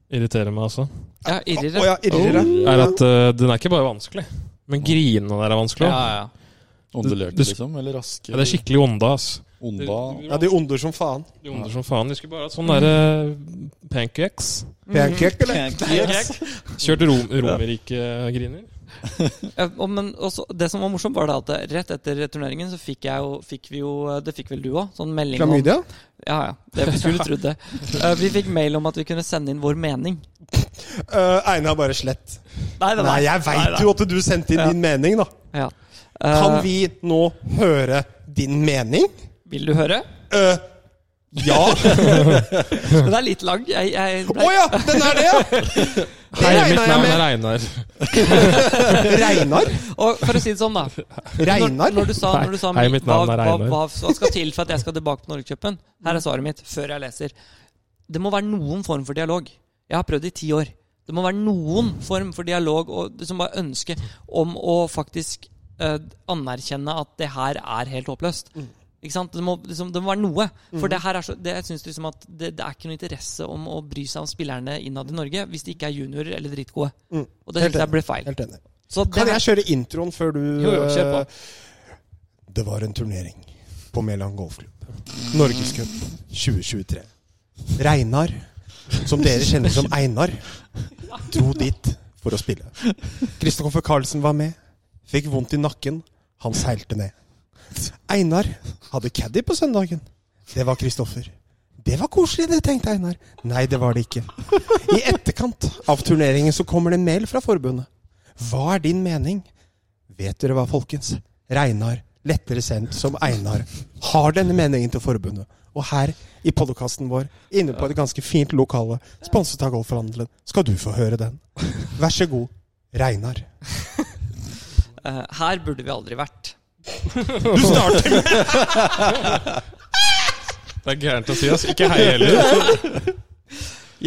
Speaker 4: Irriterer meg, altså.
Speaker 3: Mm. Ja,
Speaker 2: Å
Speaker 3: irrere.
Speaker 2: ja, irrer det?
Speaker 4: Oh. Er at eh, den er ikke bare vanskelig, men grinene der er vanskelig.
Speaker 3: Ja,
Speaker 4: også.
Speaker 3: ja.
Speaker 1: Åndeløke,
Speaker 4: Det- det-
Speaker 1: liksom? Eller raske?
Speaker 4: Ja, det er skikkelig onda, ass.
Speaker 1: Onda?
Speaker 2: Ja, de onder som faen.
Speaker 4: De onder som faen. Vi skulle bare hatt sånne der, eh, pancakes.
Speaker 2: Pancake, eller?
Speaker 4: Kjørt rom, Romerike-griner.
Speaker 3: Ja, og- men også, det som var morsomt, var det at rett etter turneringen så fikk jeg jo fikk vi jo, Det fikk vel du òg? Sånn melding om
Speaker 2: Klamydia?
Speaker 3: Ja, ja. Det skulle trodd det. Eh, Vi fikk mail om at vi kunne sende inn vår mening.
Speaker 2: Uh, Einar bare slett.
Speaker 3: Nei, det
Speaker 2: Nei, jeg veit jo at du sendte inn
Speaker 3: Ja.
Speaker 2: din mening, da.
Speaker 3: Ja.
Speaker 2: Kan
Speaker 3: Eh,
Speaker 2: vi nå høre din mening?
Speaker 3: Vil du høre?
Speaker 2: Eh, ja. Å
Speaker 3: Den er litt lang. Jeg, jeg ble
Speaker 2: ja! Den er det, ja! Det
Speaker 4: Hei, mitt
Speaker 2: regna jeg
Speaker 4: navn
Speaker 2: med.
Speaker 4: er Einar.
Speaker 2: Reinar?
Speaker 3: Og for å si det sånn, da. Når,
Speaker 2: Reinar?
Speaker 3: når du sa, når du sa
Speaker 4: Hei, mitt
Speaker 3: hva,
Speaker 4: navn er
Speaker 3: hva,
Speaker 4: Einar.
Speaker 3: hva, hva skal til for at jeg skal tilbake på Norgescupen? Her er svaret mitt, før jeg leser. Det må være noen form for dialog. Jeg har prøvd i ti år. Det må være noen form for dialog og liksom bare ønske om å faktisk eh, anerkjenne at det her er helt håpløst.
Speaker 2: Mm.
Speaker 3: Ikke sant? Det, må, liksom, det må være noe. For det her er så, det, jeg synes liksom at det, det er ikke noe interesse om å bry seg om spillerne innad i Norge hvis de ikke er juniorer eller dritgode.
Speaker 2: Mm.
Speaker 3: Og det
Speaker 2: Helt
Speaker 3: synes jeg ble feil.
Speaker 2: Helt enig.
Speaker 3: Så det
Speaker 2: Kan
Speaker 3: her-
Speaker 2: jeg kjøre introen før du
Speaker 3: Jo, jo, kjør på.
Speaker 2: eh, Det var en turnering på Mæland golfklubb. Norgescup 2023. Reinar, som dere kjenner som Einar, dro dit for å spille. Kristoffer Carlsen var med. Fikk vondt i nakken. Han seilte ned. Einar hadde caddy på søndagen. Det var Kristoffer. Det var koselig, det, tenkte Einar. Nei, det var det ikke. I etterkant av turneringen så kommer det en mail fra forbundet. Hva er din mening? Vet dere hva, folkens? Reinar, lettere sendt som Einar, har denne meningen til forbundet. Og her i podkasten vår, inne på et ganske fint lokale, sponset av Golfhandelen, skal du få høre den. Vær så god, Reinar.
Speaker 3: Eh, her burde vi aldri vært.
Speaker 2: Du starter!
Speaker 4: Det er gærent å si, ass. Ikke hei heller.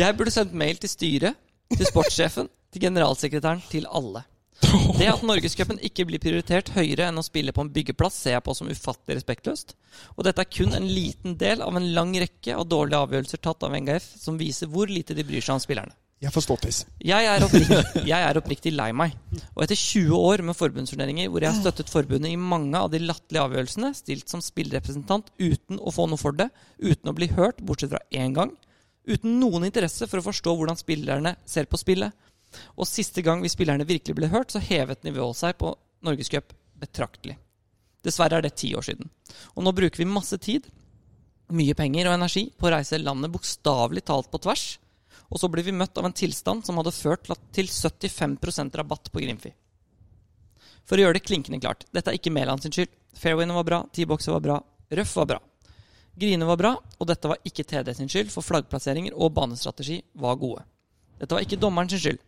Speaker 3: Jeg burde sendt mail til styret, til sportssjefen, til generalsekretæren, til alle. Det at Norgescupen ikke blir prioritert høyere enn å spille på en byggeplass, ser jeg på som ufattelig respektløst. Og dette er kun en liten del av en lang rekke av dårlige avgjørelser tatt av NGF, som viser hvor lite de bryr seg om spillerne.
Speaker 2: Jeg får ståtiss.
Speaker 3: Jeg er, oppriktig, jeg er oppriktig lei meg. Og etter 20 år med forbundsturneringer hvor jeg har støttet forbundet i mange av de latterlige avgjørelsene, stilt som spillerepresentant uten å få noe for det, uten å bli hørt, bortsett fra én gang, uten noen interesse for å forstå hvordan spillerne ser på spillet, og siste gang vi spillerne virkelig ble hørt, så hevet nivået seg på Norgescup betraktelig. Dessverre er det ti år siden. Og nå bruker vi masse tid, mye penger og energi på å reise landet bokstavelig talt på tvers. Og så ble vi møtt av en tilstand som hadde ført til at- til 75 rabatt på Grimfi. For å gjøre det klinkende klart, dette er ikke Mæland sin skyld. Fairwayene var bra, T-bokser var bra, Røff var bra. Grine var bra, og dette var ikke TD sin skyld, for flaggplasseringer og banestrategi var gode. Dette var ikke dommeren sin skyld.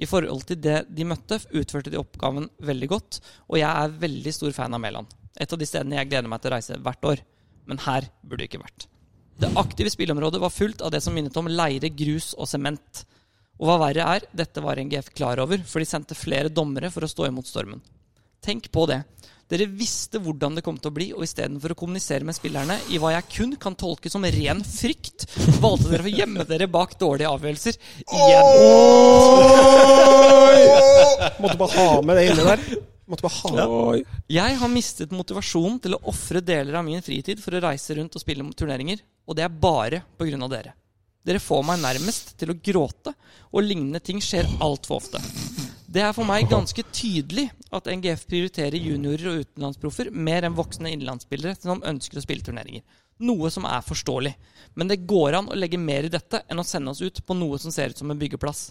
Speaker 3: I forhold til det de møtte, utførte de oppgaven veldig godt, og jeg er veldig stor fan av Mæland. Et av de stedene jeg gleder meg til å reise hvert år. Men her burde det ikke vært. Det aktive spillområdet var fullt av det som minnet om leire, grus og sement. Og hva verre er, dette var NGF klar over, for de sendte flere dommere for å stå imot stormen. Tenk på det. Dere visste hvordan det kom til å bli, og istedenfor å kommunisere med spillerne i hva jeg kun kan tolke som ren frykt, valgte dere å gjemme dere bak dårlige avgjørelser. Igjen.
Speaker 2: Måtte bare ha med det inne der. Måtte bare ha med
Speaker 4: Oi.
Speaker 3: Jeg har mistet motivasjonen til å ofre deler av min fritid for å reise rundt og spille turneringer, og det er bare på grunn av dere. Dere får meg nærmest til å gråte, og lignende ting skjer altfor ofte. Det er for meg ganske tydelig at NGF prioriterer juniorer og utenlandsproffer mer enn voksne innenlandsspillere som ønsker å spille turneringer. Noe som er forståelig. Men det går an å legge mer i dette enn å sende oss ut på noe som ser ut som en byggeplass.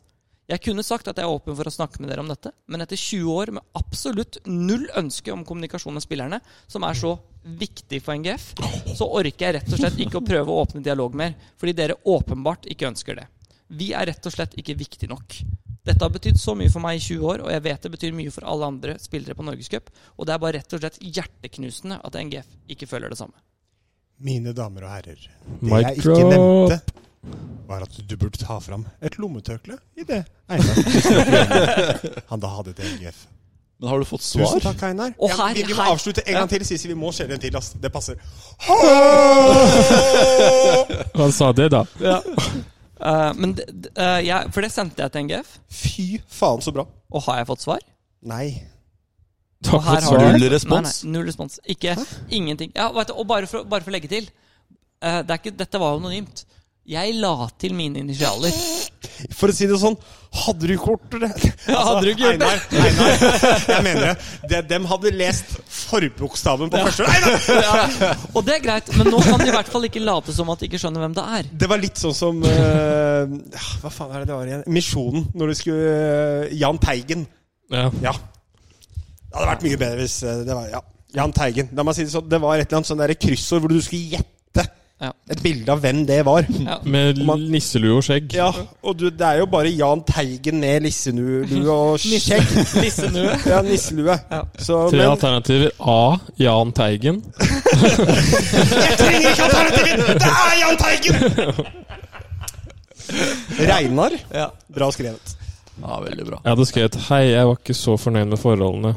Speaker 3: Jeg kunne sagt at jeg er åpen for å snakke med dere om dette, men etter 20 år med absolutt null ønske om kommunikasjon med spillerne, som er så viktig for NGF, så orker jeg rett og slett ikke å prøve å åpne dialog mer, fordi dere åpenbart ikke ønsker det. Vi er rett og slett ikke viktig nok. Dette har betydd så mye for meg i 20 år, og jeg vet det betyr mye for alle andre spillere på Norgescup, og det er bare rett og slett hjerteknusende at NGF ikke føler det samme.
Speaker 2: Mine damer og herrer, det
Speaker 4: Mic
Speaker 2: jeg ikke
Speaker 4: drop.
Speaker 2: nevnte, var at du burde ta fram et lommetørkle i det Einar han da hadde til NGF.
Speaker 1: Men har du fått
Speaker 2: Tusen
Speaker 1: svar?
Speaker 2: takk, Einar.
Speaker 3: Og
Speaker 2: Ja,
Speaker 3: her-
Speaker 2: vi, vi må
Speaker 3: her-
Speaker 2: avslutte en
Speaker 3: Ja.
Speaker 2: gang til, Sisi. Vi må skjelle en til. Ass. Det passer.
Speaker 4: Han sa det, da.
Speaker 3: Eh, men d- d- eh, jeg, for det sendte jeg til NGF,
Speaker 2: Fy faen, så bra.
Speaker 3: og har jeg fått svar?
Speaker 2: Nei.
Speaker 4: Du har
Speaker 3: Og her
Speaker 4: ikke fått
Speaker 3: har
Speaker 4: svar.
Speaker 3: du-
Speaker 1: Null respons.
Speaker 3: Nei, nei, null respons. Ikke ingenting. Ja, vet du, og bare for, bare for å legge til eh, det er ikke, Dette var jo anonymt. Jeg la til mine initialer.
Speaker 2: For å si det sånn, hadde du ikke gjort det Altså,
Speaker 3: Ja, hadde du ikke gjort det?
Speaker 2: Einar, Einar, jeg mener det. det. Dem hadde lest forbokstaven på første Einar!
Speaker 3: Og det er greit, men nå kan de i hvert fall ikke late som at de ikke skjønner hvem det er.
Speaker 2: Det var litt sånn som eh, Hva faen er det det var igjen? Misjonen, når du skulle eh, Jahn Teigen.
Speaker 4: Ja.
Speaker 2: Ja. Det hadde vært mye bedre hvis eh, det var ja. Jahn Teigen. La meg si det sånn, det var et eller annet sånn der kryssord hvor du skulle gjette
Speaker 3: Ja.
Speaker 2: et bilde av hvem det var.
Speaker 4: Med
Speaker 2: Og man-
Speaker 4: nisselue og skjegg.
Speaker 2: Ja, og du, det er jo bare Jahn Teigen ned lissenue og skjegg.
Speaker 3: Nissenue.
Speaker 2: Ja, nisselue.
Speaker 3: Ja.
Speaker 2: Så,
Speaker 4: Tre
Speaker 2: men
Speaker 4: alternativer. A. Jahn Teigen.
Speaker 2: trenger ikke alternativer! Det er Jahn Teigen! Reinar.
Speaker 3: Ja.
Speaker 2: Bra skrevet.
Speaker 1: Ja, veldig bra.
Speaker 4: Jeg hadde skrevet 'Hei, jeg var ikke så fornøyd med forholdene'.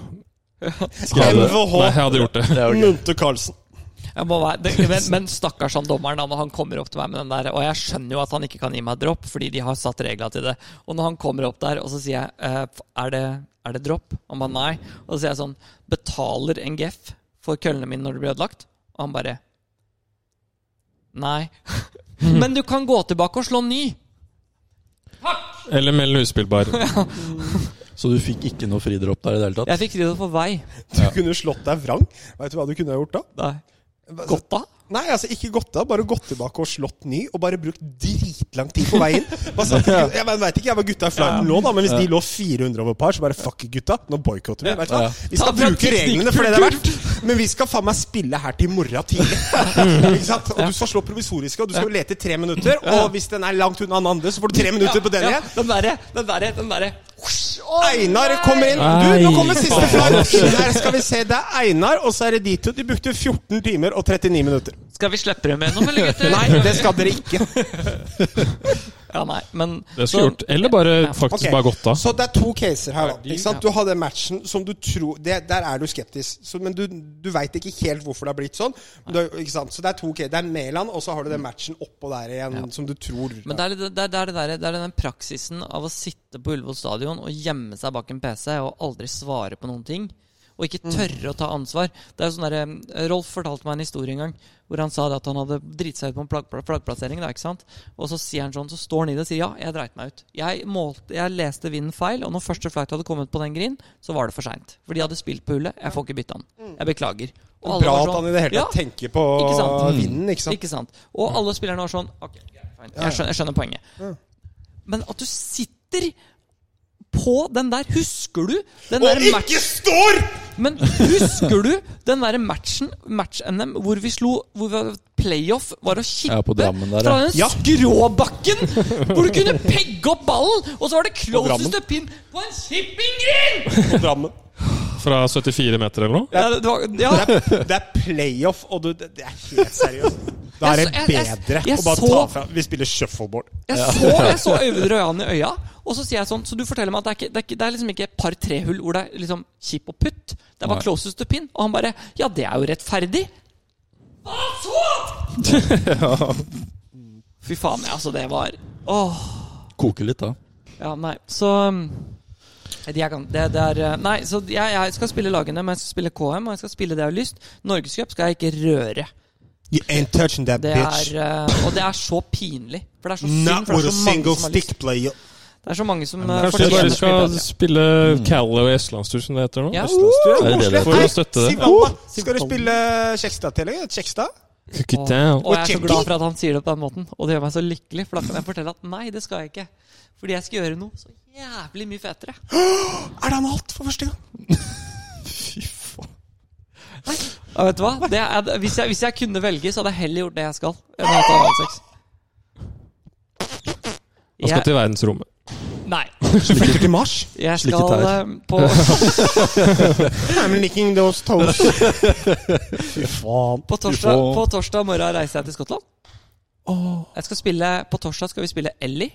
Speaker 4: Skrev det.
Speaker 2: MVH.
Speaker 4: Nei, jeg hadde gjort det.
Speaker 1: Det er jo gøy.
Speaker 2: Munte Karlsen.
Speaker 3: Jeg må være, det, men, men stakkars han dommeren, da, når han kommer opp til meg med den der Og jeg skjønner jo at han ikke kan gi meg dropp, fordi de har satt regla til det. Og når han kommer opp der, og så sier jeg eh, Er det, er det dropp? Han bare nei. Og så sier jeg sånn Betaler NGF for køllene mine når det blir ødelagt? Og han bare Nei. Men du kan gå tilbake og slå ny!
Speaker 4: Eller meld uspillbar.
Speaker 1: Så du fikk ikke noe fridropp der i det hele tatt?
Speaker 3: Jeg fikk ryddet på vei.
Speaker 2: Du kunne slått deg vrang. Veit du hva du kunne ha gjort da?
Speaker 3: Nei. Godt da?
Speaker 2: Nei, altså ikke gått av. Bare gått tilbake og slått ny, og bare brukt dritlang tid på veien. Bare sagt, jeg veit ikke jeg var gutta i flighten nå, da, men hvis de lå 400 over par, så bare fuck it, gutta. Nå boikotter vi. Vet du hva? Vi
Speaker 3: Ta
Speaker 2: skal
Speaker 3: fram
Speaker 2: bruke reglene for det det er verdt, men vi skal faen meg spille her til i morgen tidlig. Ikke sant? Og du skal slå provisoriske, og du skal lete i tre minutter. Og hvis den er langt unna den andre, så får du tre minutter på den
Speaker 3: Ja,
Speaker 2: igjen.
Speaker 3: den derre, den derre, den derre.
Speaker 2: Einar kommer inn. Du, nå kommer siste flight. Der skal vi se. Det er Einar, og så er det de to. De brukte 14 timer og 39 minutter.
Speaker 3: Skal vi slippe dem gjennom, eller gutter?
Speaker 2: Nei, det skal dere ikke.
Speaker 3: Ja, nei, men
Speaker 4: Det skulle jeg gjort. Eller bare faktisk
Speaker 2: Ok,
Speaker 4: bare gått av.
Speaker 2: Så det er to caser her. da ikke sant? Du hadde matchen som du tror det, Der er du skeptisk, så, men du, du veit ikke helt hvorfor det har blitt sånn. Men Du, ikke sant? Så det er to caser. Det er Mæland, og så har du den matchen oppå der igjen som du tror
Speaker 3: Men det er, litt- det, er, det, er det, der, det er den praksisen av å sitte på Ullevål stadion og gjemme seg bak en PC og aldri svare på noen ting. Og ikke
Speaker 2: Mm.
Speaker 3: tørre å ta ansvar. Det er jo sånn der, eh, Rolf fortalte meg en historie en gang hvor han sa det at han hadde driti seg ut på en flagg, flaggplassering. Da, ikke sant? Og så sier han sånn, så står han i det og sier ja, jeg dreit meg ut. Jeg, målte, jeg leste vinden feil, og når første flight hadde kommet på den green, så var det for seint. For de hadde spilt på hullet. Jeg får ikke bytte han. Jeg beklager. Og alle
Speaker 2: Bra
Speaker 3: var
Speaker 2: at
Speaker 3: sånn,
Speaker 2: han i Mm. det hele
Speaker 3: «Ja,
Speaker 2: tatt tenker på Mm.
Speaker 3: Ikke sant?
Speaker 2: vinden, ikke sant?
Speaker 3: ikke sant? Og alle spillerne var sånn Ok, greit, fine. jeg skjønner, jeg skjønner poenget. Men at du sitter på den der Husker du den der
Speaker 2: Og ikke
Speaker 3: matchen
Speaker 2: står!
Speaker 3: Men husker du den der matchen, match-NM, hvor vi slo Hvor vi hadde playoff var å kippe
Speaker 1: Ja, på Drammen der,
Speaker 3: fra
Speaker 1: ja.
Speaker 3: den
Speaker 2: Ja.
Speaker 3: skråbakken! Hvor du kunne pegge opp ballen, og så var det
Speaker 2: Drammen.
Speaker 3: closest up in på en shipping-grill!
Speaker 2: På Drammen.
Speaker 4: Fra 74 meter eller noe.
Speaker 3: Ja, det var, ja.
Speaker 2: Det er, det er playoff, og du, det, det er helt seriøst. Da er
Speaker 3: Jeg
Speaker 2: det
Speaker 3: så- jeg- jeg-
Speaker 2: bedre
Speaker 3: jeg
Speaker 2: å bare ta
Speaker 3: så-
Speaker 2: fra Vi spiller shuffleboard.
Speaker 3: Jeg så, jeg så Øyvind Røyan i øya, og så sier jeg sånn Så du forteller meg at det er, ikke, det er, ikke, det er liksom ikke par-tre-hull hvor det er liksom chip og putt. Det var closest to pin. Og han bare Ja, det er jo rettferdig. Hva så?! Fy faen, altså, det var Åh.
Speaker 1: Koke litt, da.
Speaker 3: Ja, nei, så um, det jeg kan, det, det er, uh, Nei, så jeg, jeg skal spille lagene, men jeg skal spille KM, og jeg skal spille det jeg har lyst. Norgescup skal jeg ikke røre.
Speaker 2: You ain't touching that
Speaker 3: Det er, uh, og det er så pinlig. For det er så synd, for det er så mange som har lyst.
Speaker 2: player.
Speaker 3: Det er så mange som uh,
Speaker 4: Kanskje vi
Speaker 3: fortjener så mye
Speaker 4: bare skal
Speaker 3: bedre.
Speaker 2: altså.
Speaker 4: spille Calaway Mm. Østlandstur, som det heter nå?
Speaker 3: Ja.
Speaker 1: Er det det det
Speaker 4: For å støtte det.
Speaker 2: Sivalla! Skal du spille Kjekstad-tillegg? Kjekstad?
Speaker 4: Cook it down.
Speaker 3: Og jeg er så
Speaker 2: Checky.
Speaker 3: glad for at han sier det på den måten, og det gjør meg så lykkelig. For da kan jeg fortelle at nei, det skal jeg ikke. Fordi jeg skal gjøre noe så jævlig mye fetere.
Speaker 2: Er det han alt for første gang?
Speaker 1: Fy faen.
Speaker 3: Og vet du hva? Det er, hvis, jeg, hvis jeg kunne velge, så hadde jeg heller gjort det jeg skal. Enn å ha tatt analsex.
Speaker 4: Han skal til verdensrommet.
Speaker 3: Jeg- Nei.
Speaker 2: Du flytter til Mars?
Speaker 3: Jeg
Speaker 1: Slikke
Speaker 3: skal
Speaker 1: tær.
Speaker 3: eh, på
Speaker 2: I'm licking those toes. Fy faen.
Speaker 3: På
Speaker 1: Du
Speaker 3: torsdag,
Speaker 1: får-
Speaker 3: på torsdag morgen reiser jeg til Skottland. Jeg skal spille, på torsdag skal vi spille Ellie.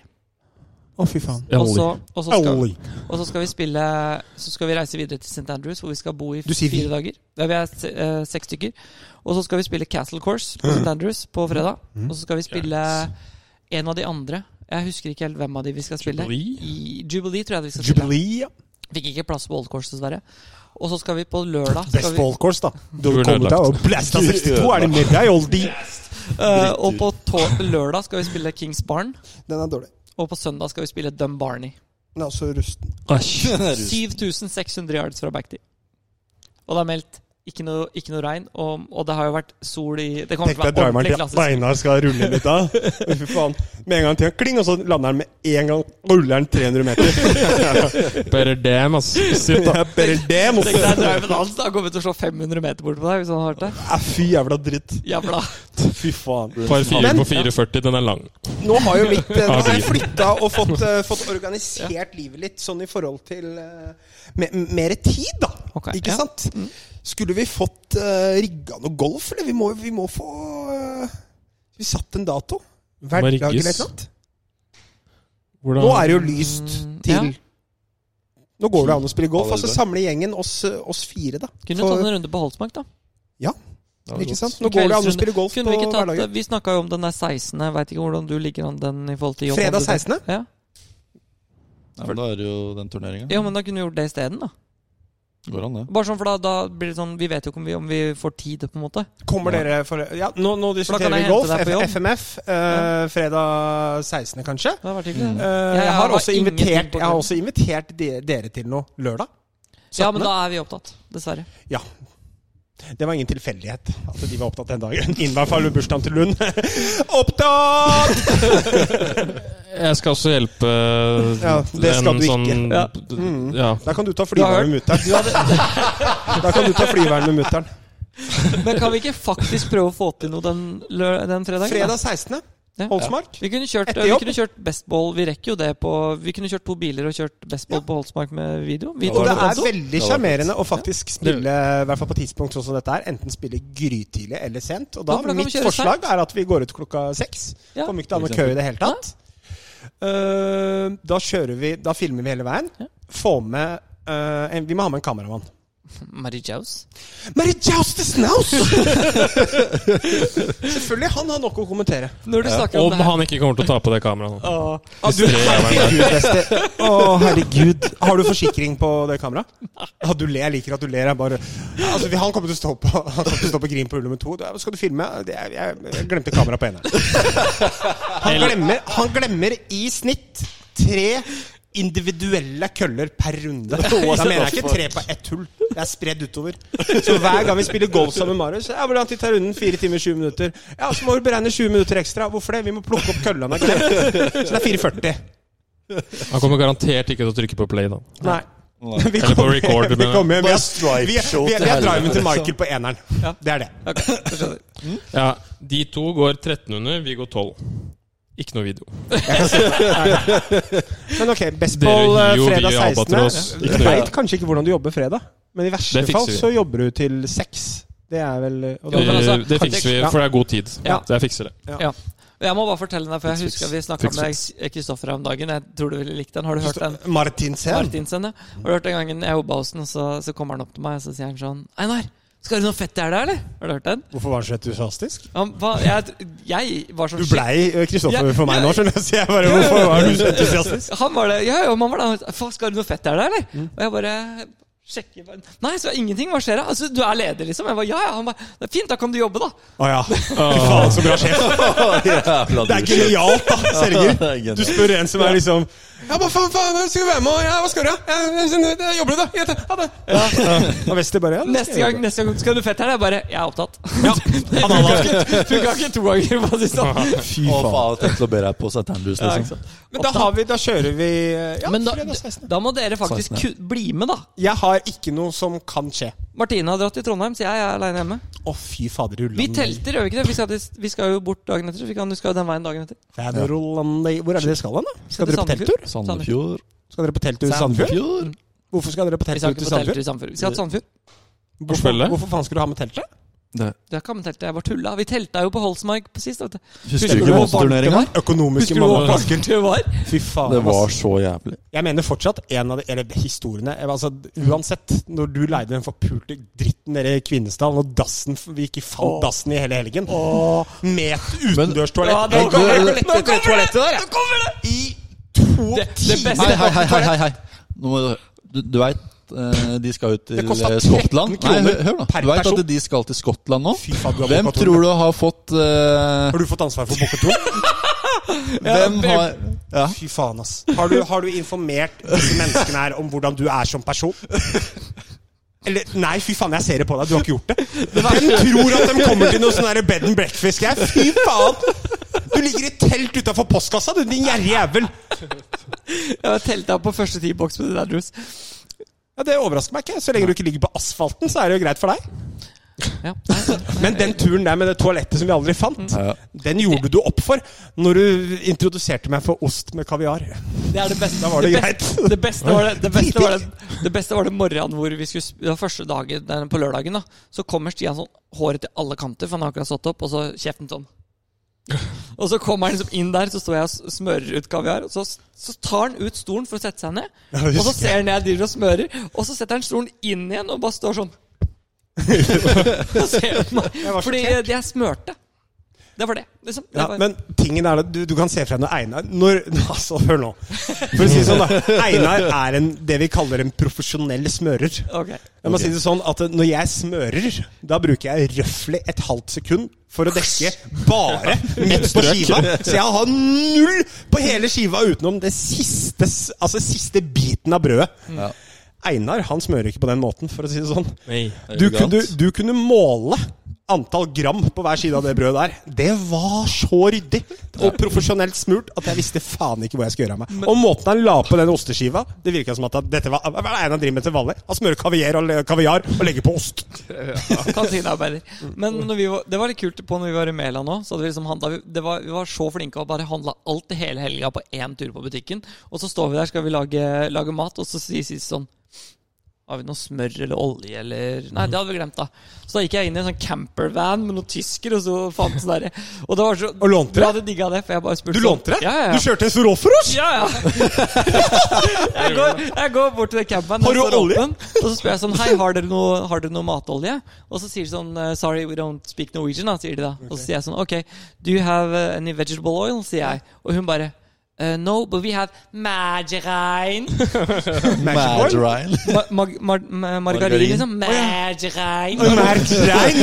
Speaker 2: Å, fy faen.
Speaker 3: Og så, og, så skal,
Speaker 2: Oi.
Speaker 3: og så skal vi spille Så skal vi reise videre til St. Andrews, hvor vi skal bo i
Speaker 2: Du sier vi.
Speaker 3: fire dager. Ja, vi er se- eh, seks stykker. Og så skal vi spille Castle Course på St. Andrews
Speaker 2: Mm.
Speaker 3: på fredag. Og så skal vi spille en av de andre. Jeg husker ikke helt hvem av de vi skal spille.
Speaker 4: Jubilee?
Speaker 3: I Jubilee tror jeg vi skal spille.
Speaker 2: Jubilee.
Speaker 3: Fikk ikke plass på Old Course, dessverre. Og så skal vi på lørdag skal
Speaker 2: Best
Speaker 3: vi,
Speaker 2: ballcourse, da. Du
Speaker 4: Burde
Speaker 2: kommer deg
Speaker 4: ødelagt.
Speaker 2: og blasta 62, er det med deg, oldie?
Speaker 3: eh, Og på to- lørdag skal vi spille Kings Barn.
Speaker 2: Den er dårlig.
Speaker 3: Og på søndag skal vi spille Dumbarney.
Speaker 2: Den er også rusten.
Speaker 4: Æsj.
Speaker 1: Den er rust.
Speaker 3: 7600 yards fra backtid. Og det er meldt ikke noe, ikke noe regn, og, og det har jo vært sol i Det kommer
Speaker 2: Tenk
Speaker 3: til å
Speaker 2: deg
Speaker 3: være ordentlig
Speaker 2: driveren til
Speaker 3: klassisk.
Speaker 2: Einar skal rulle litt av. Fy faen. Med en gang til han kling, og så lander han med en gang. Ruller han 300 meter.
Speaker 4: Better damn, ass. Shit,
Speaker 2: Det
Speaker 4: da.
Speaker 2: er bare det,
Speaker 3: Tenk
Speaker 2: mot-
Speaker 3: deg driven hans, da. Han Kommer til å slå 500 meter bort på deg hvis han har hørt det.
Speaker 2: Ja, Fy jævla dritt.
Speaker 3: Jævla.
Speaker 2: Fy faen.
Speaker 4: Par fire
Speaker 2: Men-
Speaker 4: på 4,40, den er lang.
Speaker 2: Nå har jo mitt eh, Nå har jeg
Speaker 4: Avgiven.
Speaker 2: flytta og fått, eh, fått organisert livet litt sånn i forhold til eh, mer tid, da.
Speaker 3: Ok,
Speaker 2: ikke
Speaker 3: ja. Mm.
Speaker 2: sant? Skulle vi fått uh, rigga noe golf, eller? Vi må, vi må få eh, Vi satt en dato. Hverdag
Speaker 4: rigges.
Speaker 2: eller noe?
Speaker 4: Hvordan-
Speaker 2: Nå er det jo lyst til
Speaker 3: Mm, ja.
Speaker 2: Nå går det an å spille golf. Altså
Speaker 1: Allerede.
Speaker 2: samle gjengen, oss, eh, oss fire, da.
Speaker 3: Kunne
Speaker 2: For-
Speaker 3: tatt en runde på Holsmark, da.
Speaker 1: Ja,
Speaker 2: ikke
Speaker 1: godt.
Speaker 2: sant? Nå går det an å spille golf på
Speaker 3: Kunne Vi ikke tatt, eh,
Speaker 2: hverdagen.
Speaker 3: vi snakka jo om den der 16. Jeg veit ikke hvordan du ligger an den i forhold til jobb.
Speaker 2: Fredag
Speaker 3: Hadde du det?
Speaker 2: 16.?
Speaker 3: Ja.
Speaker 1: Ja, men da er det jo den turneringa.
Speaker 3: ja, men da kunne vi gjort det isteden, da.
Speaker 1: Går an, det.
Speaker 3: Bare sånn, for da, da blir det sånn Vi vet jo ikke om vi, om vi får tid, på en måte.
Speaker 2: Kommer
Speaker 1: Ja.
Speaker 2: dere for Ja, nå, nå
Speaker 3: kan
Speaker 2: diskuterer
Speaker 3: jeg
Speaker 2: vi
Speaker 3: hente
Speaker 2: golf.
Speaker 3: deg på jobb.
Speaker 2: F FMF. eh, fredag 16., kanskje.
Speaker 3: Det hadde vært hyggelig.
Speaker 1: Mm.
Speaker 2: Eh,
Speaker 3: jeg
Speaker 2: jeg,
Speaker 3: har
Speaker 2: har også
Speaker 3: ingenting
Speaker 2: invitert,
Speaker 3: på
Speaker 2: jeg har
Speaker 3: klubben.
Speaker 2: også invitert de- dere til noe lørdag.
Speaker 3: Ja, men
Speaker 2: 17..
Speaker 3: da er vi opptatt. Dessverre.
Speaker 2: Det var ingen tilfeldighet at de var opptatt den dagen. Inn i hvert fall bursdagen til Lund. opptatt!
Speaker 4: Jeg skal også hjelpe
Speaker 2: Ja, det skal
Speaker 4: en
Speaker 2: du ikke.
Speaker 4: sånn-
Speaker 3: Ja.
Speaker 2: Mm.
Speaker 4: Ja.
Speaker 2: Da kan du ta
Speaker 3: Du har
Speaker 2: flyveren med mutter'n. Da kan du ta flyveren med mutter'n.
Speaker 3: Men kan vi ikke faktisk prøve å få til noe den, lø- den fredagen? da?
Speaker 2: Fredag 16.
Speaker 3: Ja.
Speaker 2: Holsmark.
Speaker 3: Vi kunne kjørt,
Speaker 2: Etter
Speaker 3: vi
Speaker 2: jobb.
Speaker 3: kunne kjørt bestball. Vi rekker jo det på Vi kunne kjørt to biler og kjørt bestball på Holsmark med video. Vi
Speaker 2: Og
Speaker 3: tar
Speaker 2: det
Speaker 3: det
Speaker 2: er
Speaker 3: også.
Speaker 2: veldig sjarmerende å faktisk spille, i hvert fall på tidspunkt sånn som dette er, enten spille grytidlig eller sent. Og da,
Speaker 3: Ja, for da kan vi
Speaker 2: mitt
Speaker 3: kjøre
Speaker 2: forslag er at vi går ut klokka seks.
Speaker 3: Ja.
Speaker 2: Kommer ikke til å ha
Speaker 1: For
Speaker 2: noe kø i det hele tatt. Eh, da kjører vi Da filmer vi hele veien.
Speaker 3: Ja.
Speaker 2: Få med eh, en, Vi må ha med en kameramann.
Speaker 3: Mary Jaus.
Speaker 2: Mary Jouster Snaus! Selvfølgelig. Han har nok å kommentere.
Speaker 3: Når du snakker om
Speaker 4: Om
Speaker 3: det her
Speaker 4: han ikke kommer til å ta på det kameraet nå.
Speaker 2: Ah, du, herregud, beste. Å, herregud. Har du forsikring på det kameraet? Ja, du ler. Jeg liker at du ler. Jeg bare, altså, han kommer til å stå på, han kommer til å stå på Grim på hull nummer to. Du, Skal du filme? Det er- Jeg, jeg glemte kameraet på eneren. Han glemmer, han glemmer i snitt tre individuelle køller per runde. Da mener jeg ikke tre på ett hull. Det er spredd utover. Så hver gang vi spiller golf sammen med Marius Ja, hvordan tid tar runden? Fire timer, 20 minutter. Ja, så må vi beregne 20 minutter ekstra. Hvorfor det? Vi må plukke opp kølla han har glemt. Så det er 4,40.
Speaker 4: Han kommer garantert ikke til å trykke på play, da.
Speaker 2: Nei.
Speaker 1: Nei.
Speaker 2: Vi
Speaker 4: Eller på
Speaker 2: kommer
Speaker 4: record,
Speaker 2: hjem,
Speaker 4: mener
Speaker 2: vi
Speaker 4: jeg.
Speaker 2: kommer hjem. Vi
Speaker 1: Bare
Speaker 2: er,
Speaker 1: strike
Speaker 2: vi er,
Speaker 1: show
Speaker 2: vi er,
Speaker 1: til
Speaker 2: vi er driven til
Speaker 1: helvete,
Speaker 2: Michael på eneren. Det er det.
Speaker 4: Ja, De to går 13 under, vi går 12. Ikke noe video.
Speaker 2: Men ok, best
Speaker 4: Dere
Speaker 2: ball eh,
Speaker 4: gir jo
Speaker 2: fredag
Speaker 4: vi
Speaker 2: 16.
Speaker 4: Albatross.
Speaker 2: Jeg
Speaker 4: Ikke noe.
Speaker 2: veit kanskje ikke hvordan du jobber fredag, men i verste
Speaker 4: Det fikser
Speaker 2: fall
Speaker 4: vi.
Speaker 2: så jobber du til seks. Det er vel og da-
Speaker 3: Jo, men altså,
Speaker 4: Eh, det fikser vi,
Speaker 2: ja.
Speaker 4: for det er god tid.
Speaker 3: Ja.
Speaker 4: Så jeg fikser det.
Speaker 3: ja. Jeg må bare fortelle deg, for jeg husker vi snakka
Speaker 4: Fix,
Speaker 3: med Kristoffer om dagen. Jeg tror du ville likt den. Har du hørt den?
Speaker 2: Martinsen.
Speaker 3: Martinsen, ja. Har du hørt den gangen jeg jobba hos den, så, så kommer han opp til meg og så sier han sånn Einar, skal du noe fett i helga, eller? Har du hørt den?
Speaker 2: Hvorfor var han så entusiastisk?
Speaker 3: Han, hva, jeg, jeg var sånn
Speaker 2: Du blei eh, Kristoffer
Speaker 3: Ja,
Speaker 2: for meg
Speaker 3: ja.
Speaker 2: nå, skjønner du. Så jeg bare
Speaker 3: Ja, ja, ja.
Speaker 2: Hvorfor var du så entusiastisk?
Speaker 3: Han var det, ja, ja, man var det. Faen, skal du noe fett der, da, eller?
Speaker 2: Mm.
Speaker 3: Og jeg bare sjekker bare, Nei, så ingenting. Hva skjer da? Altså, du er leder, liksom? Jeg bare, ja, ja. Han bare, det er fint, da kan du jobbe, da.
Speaker 2: Å ja.
Speaker 4: Ah.
Speaker 2: Fy faen, så bra sjef.
Speaker 1: Jævla
Speaker 2: Det er
Speaker 1: dusj.
Speaker 2: genialt, da, Serger.
Speaker 1: Ja, det er genialt.
Speaker 2: Du spør en som er liksom Ja, hva faen, faen, skal du være med? og- Ja, hva skal du, da? Ja, jeg- jeg jobber du, da? Greit, Ha det. Og Wester bare ja, det
Speaker 3: Neste
Speaker 2: skal jeg
Speaker 3: gang, neste gang skal du fett her. Jeg bare, jeg er opptatt. Ja, Funka ikke to ganger, for å si det sånn.
Speaker 2: gjøre. Fy
Speaker 1: Å,
Speaker 2: faen.
Speaker 1: faen, jeg tenkte å be deg på Saturnlus,
Speaker 3: Ja, ikke
Speaker 1: liksom.
Speaker 3: sant.
Speaker 2: Men da har vi Da kjører vi eh, Ja,
Speaker 3: Men da,
Speaker 2: fredag 16.
Speaker 3: da må dere faktisk ku bli med, da.
Speaker 2: Jeg har ikke noe som kan skje.
Speaker 3: Martine har dratt til Trondheim, så jeg er aleine hjemme.
Speaker 2: Å, fy fader,
Speaker 3: Vi
Speaker 2: Ulland.
Speaker 3: telter, gjør vi ikke det? Vi skal, til- vi skal jo bort dagen etter. så Vi, kan, vi skal jo den veien dagen etter.
Speaker 2: Det er noe Roland- Hvor er det dere skal hen, da? Skal
Speaker 3: til
Speaker 2: dere på
Speaker 3: Sandefjord.
Speaker 2: telttur?
Speaker 1: Sandefjord.
Speaker 2: Skal dere på telttur i Sandfjord? Hvorfor skal dere på
Speaker 3: Vi skal
Speaker 2: telttur
Speaker 3: ikke
Speaker 2: til
Speaker 3: på telttur i
Speaker 2: Sandfjord?
Speaker 3: Sandfjord. Vi skal til Sandfjord.
Speaker 4: Forspille.
Speaker 2: Hvorfor, hvorfor faen skulle du ha med teltet?
Speaker 1: Det.
Speaker 3: Det er ikke annet telt, jeg bare tulla. Vi telta jo på Holsmark på sist. Vet du.
Speaker 1: Husker
Speaker 3: Husker
Speaker 1: du
Speaker 3: du
Speaker 1: ikke
Speaker 3: hvor
Speaker 1: monsterturneringa?
Speaker 3: varmt
Speaker 2: Økonomiske
Speaker 3: Husker du hvor
Speaker 2: mannfolk.
Speaker 3: vakkert det var?
Speaker 2: Fy faen.
Speaker 1: Det
Speaker 2: ass.
Speaker 1: var så jævlig.
Speaker 2: Jeg mener fortsatt en av de Eller historiene eh, altså, Uansett, når du leide den forpulte dritten nede i Kvinesdal, og dassen f- vi ikke fant
Speaker 3: Åh.
Speaker 2: dassen i hele helgen Med et
Speaker 3: Ja, nå
Speaker 2: utendørstoalett
Speaker 3: kommer
Speaker 2: Nå kommer
Speaker 3: det!
Speaker 2: det!
Speaker 3: Nå kommer det! Nå kommer det!
Speaker 2: I to
Speaker 3: Det- det
Speaker 2: timer!
Speaker 3: beste-
Speaker 1: Hei, hei, hei, hei, hei. Nå må du Du, du veit, eh, de skal ut til
Speaker 2: Det kosta
Speaker 1: eh, Skottland.
Speaker 2: 13 kroner
Speaker 1: Nei, hør- hør da.
Speaker 2: per
Speaker 1: Du vet
Speaker 2: person.
Speaker 1: at de skal til Skottland nå?
Speaker 2: Fy faen, du har
Speaker 1: Hvem
Speaker 2: boka,
Speaker 1: tror du har fått eh,
Speaker 2: Har du fått ansvar for Bokke 2?
Speaker 1: Hvem har ja.
Speaker 2: Fy faen, ass. Har du, har du informert disse menneskene her om hvordan du er som person? Eller Nei, fy faen, jeg ser det på deg. Du har ikke gjort det. De tror at de kommer til noe sånn der bed and breakfast. Jeg. Fy faen! Du ligger i telt utafor postkassa, du, din gjerrige jævel.
Speaker 3: Jeg telta på første ti boks med det der drus.
Speaker 2: Ja, Det overrasker meg ikke. Så lenge du ikke ligger på asfalten, så er det jo greit for deg.
Speaker 3: Ja. Nei, nei.
Speaker 2: Men den turen der med det toalettet som vi aldri fant,
Speaker 1: Ja.
Speaker 2: den gjorde du opp for når du introduserte meg for ost med kaviar.
Speaker 3: Det er det beste.
Speaker 2: Da var det greit.
Speaker 3: beste, det beste var det, det, beste var det, det beste var det morgenen hvor vi skulle sp- Det var første dagen den på lørdagen. da Så kommer Stian sånn håret til alle kanter, for han har akkurat stått opp, og så kjeften sånn. Og så kommer han liksom inn der, så står jeg og s- smører ut kaviar. Og så, så tar han ut stolen for å sette seg ned, og så ser han jeg driver og smører, og så setter han stolen inn igjen og bare står sånn. Og ser på meg.
Speaker 2: var
Speaker 3: Fordi
Speaker 2: sjokkert.
Speaker 3: jeg smørte. Det var det. Liksom. Det
Speaker 2: Ja,
Speaker 3: var-
Speaker 2: men tingen er at du, du kan se fra deg Einar når, altså, Hør nå. For å si det sånn, da. Einar er en, det vi kaller en profesjonell smører.
Speaker 3: Ok.
Speaker 2: Jeg må si det sånn at eh, Når jeg smører, da bruker jeg røftlig et halvt sekund for å dekke bare midt på skiva. Så jeg har null på hele skiva utenom det siste, s- altså siste biten av brødet.
Speaker 1: Ja.
Speaker 2: Einar han smører ikke på den måten, for å si det sånn.
Speaker 4: Nei.
Speaker 2: Du kunne, du kunne måle antall gram på hver side av det brødet der. Det var så ryddig og profesjonelt smurt at jeg visste faen ikke hvor jeg skulle gjøre av meg. Og måten han la på den osteskiva Det virka som at han- dette var Hva er det Einar driver med til vanlig? Han smører kaviar og, le- kaviar og legger på ost.
Speaker 3: Kantinearbeider.
Speaker 2: Mm.
Speaker 3: Men når vi var, det var litt kult på når vi var i Mæland òg. Vi, liksom handla- vi, det var- vi var så flinke og bare handla alt i hele helga på én tur på butikken. Og så står vi der, skal vi lage, lage mat, og så sier Sisi sånn har vi noe smør eller olje eller Nei, det hadde vi glemt, da. Så da gikk jeg inn i en sånn campervan med noen tysker, og så fant jeg sånn derre Og det var så
Speaker 2: Og
Speaker 3: Du
Speaker 2: lånte det?
Speaker 3: hadde digga det, for jeg bare spurte
Speaker 2: Du
Speaker 3: sånn-
Speaker 2: lånte det?
Speaker 3: Ja, ja,
Speaker 2: Du
Speaker 3: ja.
Speaker 2: kjørte en Sorol for oss?
Speaker 3: Ja, ja. Jeg går, jeg går bort til den campen,
Speaker 2: Har
Speaker 3: den
Speaker 2: du
Speaker 3: står
Speaker 2: olje?
Speaker 3: åpen, og så spør jeg sånn Hei, har dere noe, har dere noe matolje? Og så sier de sånn eh, Sorry, we don't speak Norwegian, da, sier de da. Og så sier jeg sånn Ok, do you have eh, any vegetable oil? sier jeg. Og hun bare eh, no, but we have margarine.
Speaker 1: Mad Ryan.
Speaker 3: Ma mag mar ma margarin,
Speaker 1: Margarin.
Speaker 3: liksom. Margarine.
Speaker 2: Merkrein!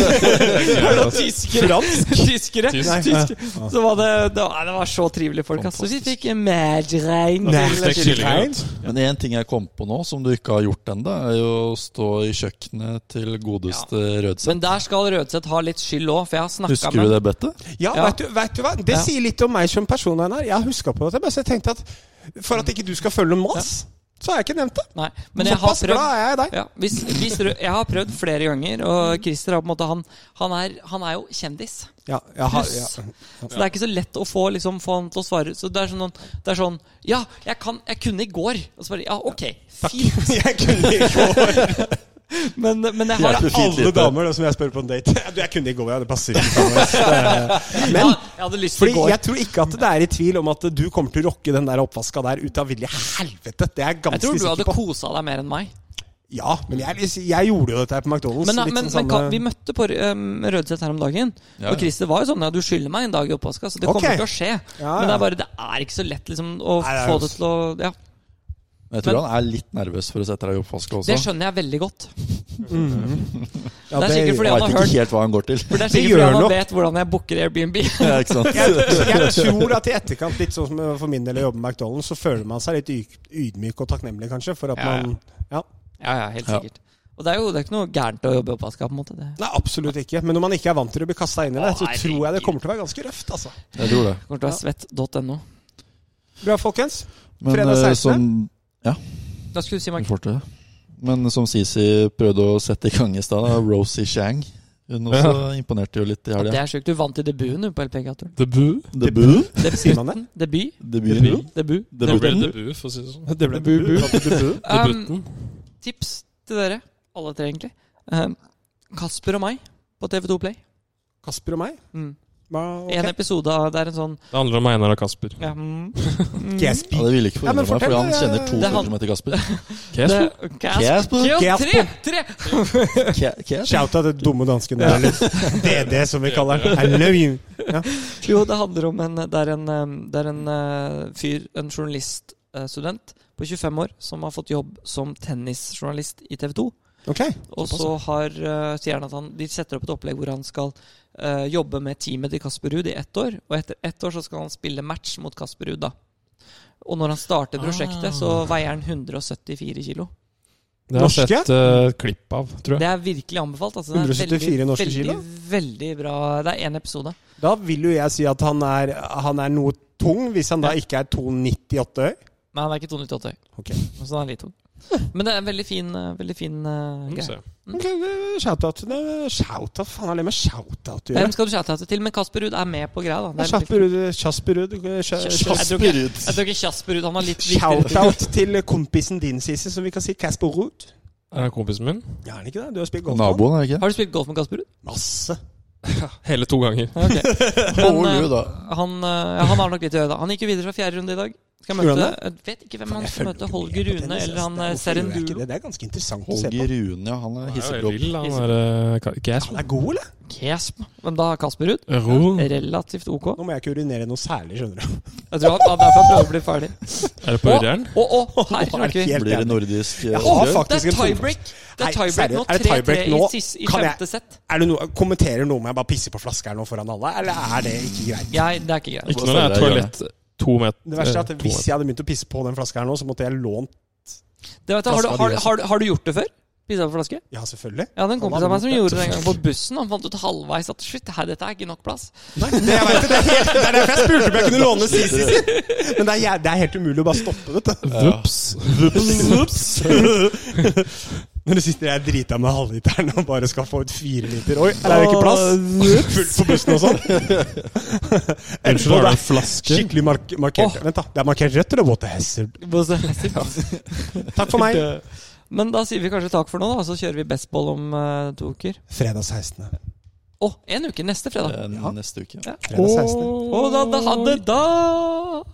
Speaker 3: Det var tyskere. Tyskere.
Speaker 4: Tysk.
Speaker 2: Nei.
Speaker 3: Tyskere. Så var det, det, var, det var så trivelige folk. ass. Så vi fikk eh, margarine.
Speaker 4: Stekt kylling.
Speaker 2: Merkrein.
Speaker 4: vet du.
Speaker 1: Men én ting jeg kom på nå, som du ikke har gjort ennå, er jo å stå i kjøkkenet til godeste Rødseth.
Speaker 3: Men der skal Rødseth ha litt skyld òg, for jeg har snakka
Speaker 1: Husker du
Speaker 3: med
Speaker 1: det bettet?
Speaker 2: Ja,
Speaker 3: Ja.
Speaker 2: Vet, du, vet du hva? Det
Speaker 3: Ja.
Speaker 2: sier litt om meg som person, Einar. Jeg har huska på dette, men så jeg tenkte at for at ikke du skal følge noe mas, så har jeg ikke nevnt det.
Speaker 3: Nei, men jeg har
Speaker 2: Såpass
Speaker 3: prøvd.
Speaker 2: glad er jeg i deg.
Speaker 3: Ja, hvis, hvis Rød, jeg har prøvd flere ganger, og Christer har på en måte Han, han, er, han er jo kjendis.
Speaker 2: Ja, jeg har, ja.
Speaker 3: Pluss. Så det er ikke så lett å få, liksom, få han til å svare. Så det er sånn, det er sånn Ja, jeg, kan, jeg kunne i går. Og så bare Ja, ok. Fint.
Speaker 2: Jeg kunne i går.
Speaker 3: Men, men jeg har
Speaker 1: Hjelper fint
Speaker 2: Alle
Speaker 1: lite.
Speaker 2: damer da, som jeg spør på en date. Du, jeg kunne i går, ja. Det passer ikke.
Speaker 3: ja,
Speaker 2: Men
Speaker 3: Jeg hadde lyst til
Speaker 2: fordi
Speaker 3: i går.
Speaker 2: jeg tror ikke at det er i tvil om at du kommer til å rocke den der oppvaska der ut av vilje helvete. Det er jeg
Speaker 3: Jeg
Speaker 2: ganske
Speaker 3: tror du
Speaker 2: sikker
Speaker 3: hadde
Speaker 2: på.
Speaker 3: kosa deg mer enn meg.
Speaker 2: Ja, men jeg, jeg gjorde jo dette her på McDonald's.
Speaker 3: Men, eh,
Speaker 2: litt
Speaker 3: men,
Speaker 2: sånn
Speaker 3: men kan,
Speaker 2: samme-
Speaker 3: vi møtte på um, Rødseth her om dagen.
Speaker 1: Ja, ja.
Speaker 3: Og Christer var jo sånn ja, du skylder meg en dag i oppvaska, så det
Speaker 2: Ok.
Speaker 3: kommer til å skje.
Speaker 2: Ja,
Speaker 3: Men det
Speaker 2: ja.
Speaker 3: er bare det er ikke så lett liksom, å
Speaker 2: Nei, det er
Speaker 3: få
Speaker 2: jo-
Speaker 3: det til å ja.
Speaker 1: Men Jeg tror han er litt nervøs for å sette deg i oppvaska også.
Speaker 3: Det skjønner jeg veldig godt.
Speaker 2: Ja,
Speaker 3: det er sikkert fordi
Speaker 1: Han
Speaker 3: han
Speaker 1: veit
Speaker 3: har
Speaker 1: ikke
Speaker 3: hørt
Speaker 1: helt hva han går til.
Speaker 3: For det er
Speaker 2: Det
Speaker 3: sikkert fordi
Speaker 2: gjør
Speaker 3: han
Speaker 2: nok.
Speaker 3: vet hvordan jeg booker Airbnb.
Speaker 1: Ja, ikke sant?
Speaker 2: jeg, jeg tror at i etterkant, litt sånn som for min del å jobbe med McDonald's, så føler man seg litt yk- ydmyk og takknemlig, kanskje, for at
Speaker 3: Ja, ja.
Speaker 2: man Ja.
Speaker 3: Ja, ja, helt
Speaker 1: Ja.
Speaker 3: sikkert. Og det er jo det er ikke noe gærent å jobbe i oppvaska, på en måte. Det
Speaker 2: Nei, absolutt ikke. Men når man ikke er vant til å bli kasta inn i det, så
Speaker 3: Å,
Speaker 2: tror jeg det kommer til å være ganske røft, altså.
Speaker 1: Jeg tror det.
Speaker 3: kommer til å være svett.no.
Speaker 2: Bra, folkens.
Speaker 1: Men,
Speaker 2: Fredag
Speaker 1: eh,
Speaker 2: 16.
Speaker 1: som,
Speaker 3: Da skulle du si, Mark.
Speaker 1: får til det. Men som Sisi prøvde å sette i gang i stad, da, Rosie Chang Hun også imponerte jo litt i
Speaker 3: Det
Speaker 1: helga.
Speaker 3: er sjukt. Du vant i debuten du, på LPG-turen.
Speaker 4: The Boo.
Speaker 1: Debuten?
Speaker 2: Sier man det?
Speaker 3: Debut.
Speaker 1: Debuten?
Speaker 3: Debut.
Speaker 4: Det ble
Speaker 1: Debuten?
Speaker 4: The Boo, for å si det sånn.
Speaker 2: Det ble
Speaker 3: Bu- bu.
Speaker 2: bu.
Speaker 3: Um,
Speaker 4: Debuten.
Speaker 3: tips til dere, alle tre egentlig. Um, Kasper og meg på TV2 Play.
Speaker 2: Kasper og meg?
Speaker 3: Mm.
Speaker 2: Hva,
Speaker 3: En
Speaker 2: ok.
Speaker 3: episode av Det er en sånn
Speaker 4: Det handler om Einar og Kasper.
Speaker 3: ja, mm,
Speaker 1: Ja, det ville ikke
Speaker 2: Ja,
Speaker 1: forundre
Speaker 2: men
Speaker 1: meg, for
Speaker 2: fortell,
Speaker 1: han kjenner to
Speaker 3: Det er
Speaker 1: følgere
Speaker 3: han-
Speaker 1: som heter Kasper.
Speaker 4: Kasper.
Speaker 1: Gasp.
Speaker 3: det- Gasp. Ja,
Speaker 2: Gasp.
Speaker 3: Tre! tre.
Speaker 1: Ka- Kasper?
Speaker 2: Shout out til dumme dansken der. eller DD, som vi kaller den. I love you.
Speaker 3: Jo, det handler om en Det er en, eh, det er en eh, fyr, en journaliststudent, på 25 år som har fått jobb som tennisjournalist i TV 2.
Speaker 2: Ok.
Speaker 3: Og så har, eh, sier han at han, de setter opp et opplegg hvor han skal eh, jobbe med teamet til Kasper Ruud i ett år. Og etter ett år så skal han spille match mot Kasper Ruud, da. Og når han starter prosjektet, så veier han 174 kilo.
Speaker 4: Det har
Speaker 2: Norske?
Speaker 4: jeg sett eh, klipp av, tror jeg.
Speaker 3: Det er virkelig anbefalt. Altså, det er
Speaker 2: 174
Speaker 3: veldig,
Speaker 2: norske
Speaker 3: veldig,
Speaker 2: kilo?
Speaker 3: Veldig bra. Det er én episode.
Speaker 2: Da vil jo jeg si at han er, han er noe tung, hvis han da ikke er 2,98 høy.
Speaker 3: Nei, han er ikke 298 høy.
Speaker 2: Ok.
Speaker 3: Så han er litt tung. Men det er en veldig fin, eh, veldig fin eh,
Speaker 4: Må
Speaker 3: greie.
Speaker 4: se.
Speaker 2: Ok, eh, Shout-out. Nei, Shout-out? Faen, har det med shout-out å
Speaker 3: Hvem
Speaker 2: gjøre?
Speaker 3: skal du shout-oute til? Men Kasper Ruud er med på greia, da. Det er
Speaker 2: Kjasper
Speaker 3: litt-
Speaker 2: Ruud. Kjasper Ruud. eh, kja-
Speaker 3: Kjas-
Speaker 2: kjas-
Speaker 3: tror ikke- Jeg tror ikke Kasper Ruud Han har litt viktigere ting.
Speaker 2: Shout-out til kompisen din, Sissy, som vi kan si Casper Ruud.
Speaker 4: Er det kompisen min?
Speaker 2: Ja, er det ikke det? Du har spilt golf nå?
Speaker 1: Naboen, er det ikke?
Speaker 3: Har du spilt golf med Kasper Ruud?
Speaker 2: Masse.
Speaker 4: Hele to ganger.
Speaker 3: Ja, ok. Men,
Speaker 1: Ole,
Speaker 3: eh,
Speaker 1: da.
Speaker 3: han, eh, ja, han har nok litt å gjøre, da. Han gikk jo videre fra fjerde runde i dag. Skal jeg
Speaker 2: Gjorde
Speaker 3: møte
Speaker 2: han
Speaker 3: Jeg vet ikke hvem han
Speaker 2: Jeg
Speaker 3: skal
Speaker 2: følger
Speaker 3: møte.
Speaker 2: ikke
Speaker 3: Holger
Speaker 2: med på
Speaker 3: Rune
Speaker 2: tennis,
Speaker 3: eller
Speaker 2: ass.
Speaker 3: han
Speaker 2: Det er-
Speaker 3: eh,
Speaker 2: hvorfor gjør jeg ikke
Speaker 3: Serendulo.
Speaker 2: Det Det er ganske interessant å se på.
Speaker 1: Holger Rune, ja. Han er
Speaker 4: Han er jo
Speaker 1: hisseblogg.
Speaker 4: vill, han der eh, Gasp.
Speaker 2: Han er god, eller?
Speaker 3: Gasp. Men da er Kasper Ruud
Speaker 4: Ro.
Speaker 3: relativt ok.
Speaker 2: Mm. Nå må jeg ikke urinere noe særlig, skjønner du.
Speaker 3: Jeg tror han, han derfor jeg prøver å bli ferdig.
Speaker 4: Er det på Ørjeren?
Speaker 3: Å, å, her
Speaker 2: Nå er det
Speaker 3: røk vi.
Speaker 1: Blir
Speaker 2: helt
Speaker 1: det
Speaker 2: enig.
Speaker 1: nordisk eh,
Speaker 2: Jeg har
Speaker 1: oppgjør?
Speaker 3: Det
Speaker 2: faktisk
Speaker 3: er
Speaker 2: en tom-
Speaker 3: tiebreak. Det
Speaker 2: Nei,
Speaker 3: er tiebreak
Speaker 2: seriøst,
Speaker 3: nå.
Speaker 2: er det tiebreak
Speaker 3: 3-3 i,
Speaker 2: nå?
Speaker 3: sis- i
Speaker 2: Kan jeg-
Speaker 3: femte sett.
Speaker 2: Er det noe, kommenterer noe om jeg bare pisser på flasker her nå foran alle, eller er det ikke greit?
Speaker 3: Jeg, det er ikke greit.
Speaker 4: Ikke når det er toalett to meter.
Speaker 2: Det verste er at
Speaker 4: eh, to
Speaker 2: hvis jeg hadde begynt å pisse på den flaska her nå, så måtte jeg lånt
Speaker 3: Det vet jeg, har, du,
Speaker 2: Flaska
Speaker 3: har,
Speaker 2: di også.
Speaker 3: har, har du gjort det før? Pissa på flaske?
Speaker 2: Ja, selvfølgelig.
Speaker 3: Jeg hadde en
Speaker 2: Han
Speaker 3: kompis av meg
Speaker 2: hadde
Speaker 3: som
Speaker 2: gjort
Speaker 3: gjorde det en gang på bussen. Han fant ut halvveis at shit, her, dette er ikke nok plass.
Speaker 2: Nei, det, jeg vet, det, det, er helt, det er derfor jeg spurte om jeg kunne låne Sisi sin! Men det er, jæv- det er helt umulig å bare stoppe, vet du.
Speaker 4: meter. Vups.
Speaker 2: Ups. Når du sitter der drita med halvliteren og bare skal få ut fire liter Oi, her er det ikke plass! Fullt på bussen og sånn.
Speaker 4: Unnskyld, har du
Speaker 2: det
Speaker 4: en flaske?
Speaker 2: Skikkelig mark markert.
Speaker 3: Åh.
Speaker 2: Vent, da. Det er markert rødt eller what a hazard? Takk for meg.
Speaker 3: Men da sier vi kanskje takk for nå, da. Så kjører vi bestball om eh, to uker.
Speaker 2: Fredag 16.
Speaker 3: Å, en uke. Neste fredag.
Speaker 1: eh,
Speaker 2: Ja.
Speaker 1: neste uke.
Speaker 3: Ja.
Speaker 2: Fredag 16.
Speaker 3: Å, da, da, ha det da!